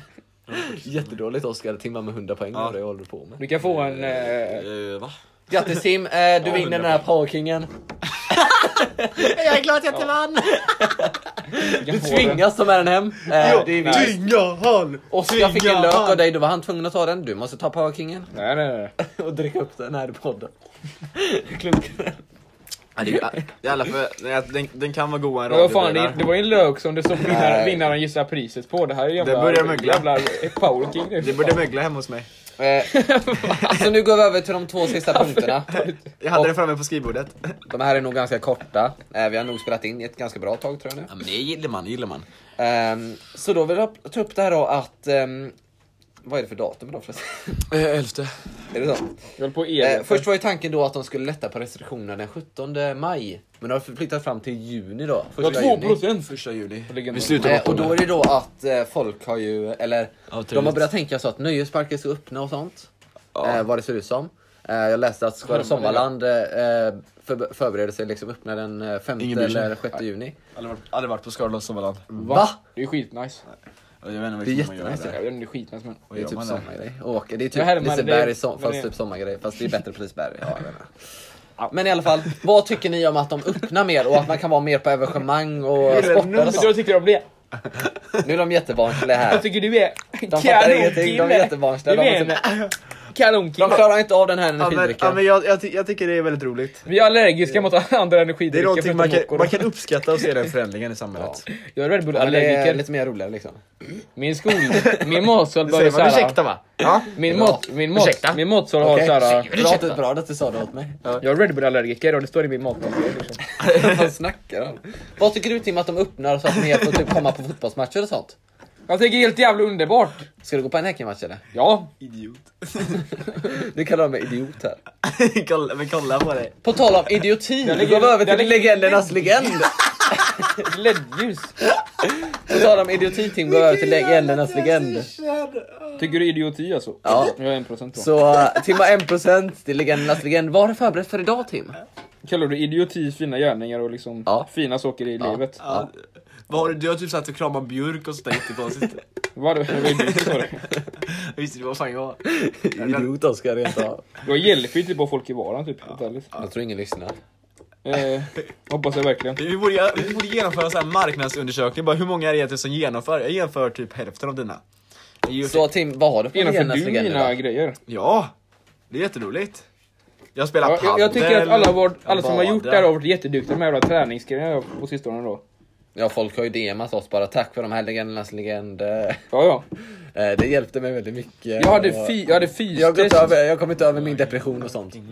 Jättedåligt Oskar, Tim vann med 100 poäng.
Ja.
Vad det håller du på med?
Du kan få en... Eh,
Eh, va?
Grattis Tim, eh, du vinner
100
den här powerkingen.
(laughs) Jag är glad att jag inte vann!
du kan
Du
få den.
tvingas ta med den hem. Eh, det är vinst.
Tvinga han!
Oskar fick
tvinga
en lök
han.
av dig, då var han tvungen att ta den. Du måste ta powerkingen.
Nej, nej, nej.
(laughs) och dricka upp den här i podden. Klunkar den.
Ja, det är ju- det är alla för, nej, den, den kan vara god en
Men vad fan, det,
radiobilar.
det var ju en lök som det stod vinnaren,
Nej.
vinnaren gissar priset på. Det här är ju
Det
jävla,
börjar mögla.
jävla power king nu.
Det började mögla hemma hos mig.
Eh, så nu går vi över till de två (laughs) sista punkterna.
Jag hade
Och-
den framme på skrivbordet.
De här är nog ganska korta. Eh, vi har nog spelat in i ett ganska bra tag tror jag nu.
Ja, men det gillar man, det gillar man.
Ehm, så då vill jag ta upp det här då att... ehm, vad är det för datum idag förresten? (laughs)
elfte.
är det så?
Jag höll på att
Eh,
elaka.
först var ju tanken då att de skulle lätta på restriktionerna den 17 maj. Men de har flyttat fram till juni då.
Jag
Första
har
juni.
2%
Första juli.
ligger
Vi
bra.
slutar
Eh,
på
och då
åttonde.
är det då att eh, folk har ju, eller
Ja, tydligt.
de har börjat tänka så att nöjesparker ska öppna och sånt. Eh, vad det ser ut som. Eh, Jag läste att Skara Sommarland eh, eh, förbe- förbereder sig liksom öppna den eh, femte
Ingen bryr sig.
eller sjätte juni.
Aldrig varit, aldrig varit på Skaraborgs sommarland.
Va?
Det är skitnice.
Jag vet inte
Det är
vilken man gör
jättenice.
där.
Jag vet inte, det är skitnice men.
Vad
Det är
gör
typ
man där?
sommargrej. Och det är
Ja,
typ
Herman, det
Liseberg,
är-
som,
vad
fast
är-
typ sommargrej. Fast det är bättre på Liseberg. Ja, jag menar. Ja, men i alla fall, vad tycker ni om att de öppnar mer och att man kan vara mer på evenemang och sportar och
Men då
sånt?
tycker jag om det.
Nu är de jättebarnsliga här.
Jag tycker du är
De fattar ingenting, de är
kanonkille.
jättebarnsliga.
Du är
De,
en
måste- de
kanonkille.
klarar inte av den här
Ja, men, ja,
energidrycken.
men jag, jag, ty- jag tycker det är väldigt roligt.
Vi är allergiska mot (laughs) andra
Det är
energidrycker
någonting man kan,
förutom
man
Nocco.
kan uppskatta och se den förändringen i samhället.
Jag är Red Bull
Ja, men det är
allergiker.
lite mer roligare liksom.
Min skol, min matsal
Det
började
säger man,
såhär.
ursäkta va?
Ja.
Min,
Bra.
mat, min, mat,
Ursäkta?
min matsal har
Okej.
såhär.
Bra, att du- bra att du sa det åt mig.
Jag är Red Bull allergiker och det står i min matsal. Liksom.
Vad snackar han? Vad tycker du Tim att de öppnar så att mer får typ komma på fotbollsmatcher och sånt?
Jag tycker det är helt jävla underbart.
Ska du gå på en Häckenmatch eller?
Ja.
Idiot. (laughs)
Du kallar mig idiot här.
kolla, men kolla på dig.
På tal om idioti,
Den
nu
ligger-
går vi över
den
till
ligger-
legendernas legend.
LED-ljus.
På tal om idioti Tim, går vi över till legendernas legend.
Tycker du idioti alltså?
Ja.
Jag är en procent på.
Så eh, Tim har 1% till legendernas legend. Vad har du förberett för idag Tim?
Kallar du idioti fina gärningar och liksom
Ja.
fina saker i livet?
Ja. Vad har du, du har typ satt och kramat björk och sånt där jättekonstigt.
Vad vad är idioti sa du?
Jag visste du vad fan jag var?
Idiot Oskar resa.
Jag hjälper ju typ bara folk i vardagen typ. helt ärligt.
Jag tror ingen lyssnar.
Eh, hoppas jag verkligen.
Vi borde, vi borde genomföra en sån här marknadsundersökning, bara hur många är det egentligen som genomför? Jag genomför typ hälften av dina. Jag gör-
Så Tim, vad har du för
Genomför
legendernas
du
legend
mina
idag?
grejer?
typ- Ja, det är jätteroligt. Jag spelar
Ja, jag, jag tycker att
padel,
alla, vår, alla som har
badar.
gjort det här har varit jätteduktiga med de här jävla träningsgrejerna på sistone då.
Ja folk har ju DMat oss bara tack för de här legendernas legend. Eh,
Ja, ja.
Det hjälpte mig väldigt mycket.
Jag hade,
Och-
fi, jag hade
Jag har gått
fystest.
över, jag kommer inte över min depression och sånt.
Ja,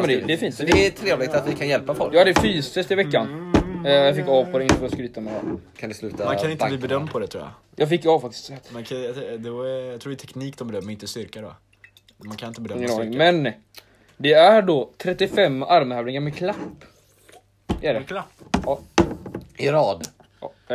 men det- det är fint.
Så det är trevligt att vi kan hjälpa folk.
Jag hade fystest i veckan. Eh, jag fick A på det, inte för att skryta med det.
Kan du sluta
Man kan inte bli
banka?
bedömd på det tror jag.
Jag fick A faktiskt.
Man kan, då är, jag tror det är teknik de bedömer, inte styrka då. Man kan inte bedöma
Ingen aning.
styrka.
Men det är då 35 armhävningar med klapp. Det är det.
Klapp.
I rad.
Ja. Eh,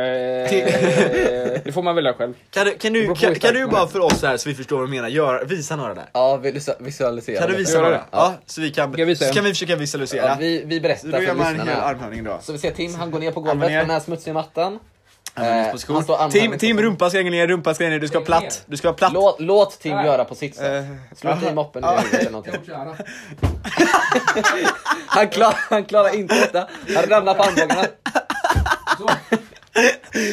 det får man välja själv.
Kan du, kan,
Det
du,
beror på
kan,
hur
kan du
stark
bara
man
för oss här så vi förstår vad du menar, Gör, visa några där.
Ja, visu- visualisera.
Kan du
det.
visa
Gör
några?
det.
Ja. så vi kan,
Ska jag visa
så
en?
kan vi försöka visualisera.
Ja, vi, vi berättar
då
för
gör man en
lyssnarna.
hel armhävning då.
Så vi ser Tim, han går ner på golvet
Armarna
på
ner.
den här smutsiga mattan. Eh,
Armhävningsposition.
han står armhävning
Tim,
på-
Tim, rumpa ska hänga ner, rumpa ska hänga ner, du ska vara platt. Du ska vara platt. Eh,
Låt, låt Tim
Där.
göra på sitt sätt. Slå Tim upp en
(laughs)
eller någonting.
Alltså,
Han, klar, han klarar inte detta. Han ramlar på armbågarna.
(laughs)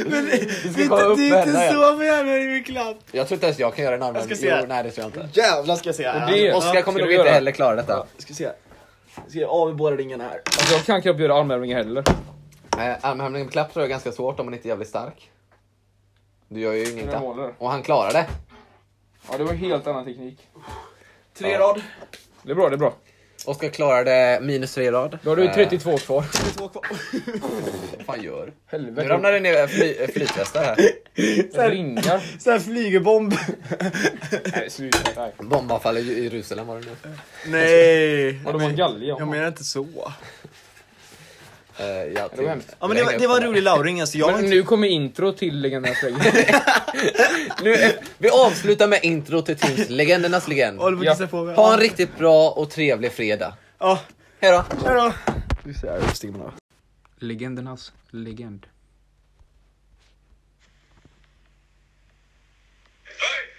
Men det,
ska komma upp med henne, ja.
man gör med min klapp.
Jag tror inte ens jag kan göra en armhävning.
Jag ska se.
Jo, nej det tror jag inte.
Jävlar ska jag se.
det-
Ja,
Oskar
ska
kommer
du
nog inte
göra?
heller klara detta.
Ska se. Ska jag av med båda ringarna här.
Alltså, jag kan knappt göra armhävningar heller.
Eh, armhävning med klapp tror jag är ganska svårt om man inte är jävligt stark. Du gör ju ingen
Jag
klapp.
håller.
Och han klarar det.
Ja, det var en helt annan teknik.
Tre rad.
Det är bra, det är bra.
Oskar klarar det minus tre i rad. Eh,
Då har du 32 kvar.
Två kvar.
Vad fan gör? Nu
Helvete.
ramlar det ner fly, eh, flytvästar här.
Ringar.
Sån här flygerbomb.
Nej, sluta. Nej.
Bombanfall i i Jerusalem var det nu.
Nej.
Ja, det var en galge.
Jag menar inte så.
Eh, ja,
Det var hemskt.
Ja men det var, det var en rolig lauring alltså. Jag har
Men
inte...
nu kommer intro till Legendernas
(laughs)
Legend.
Nu, eh, vi avslutar med intro till
(laughs)
Tims Legendernas Legend.
Håller på att
Ja.
kissa på mig.
Ha en riktigt bra och trevlig fredag.
Ja,
Hejdå!
hejdå. Du ser, jag stiger man av.
Legendernas legend.
Hey!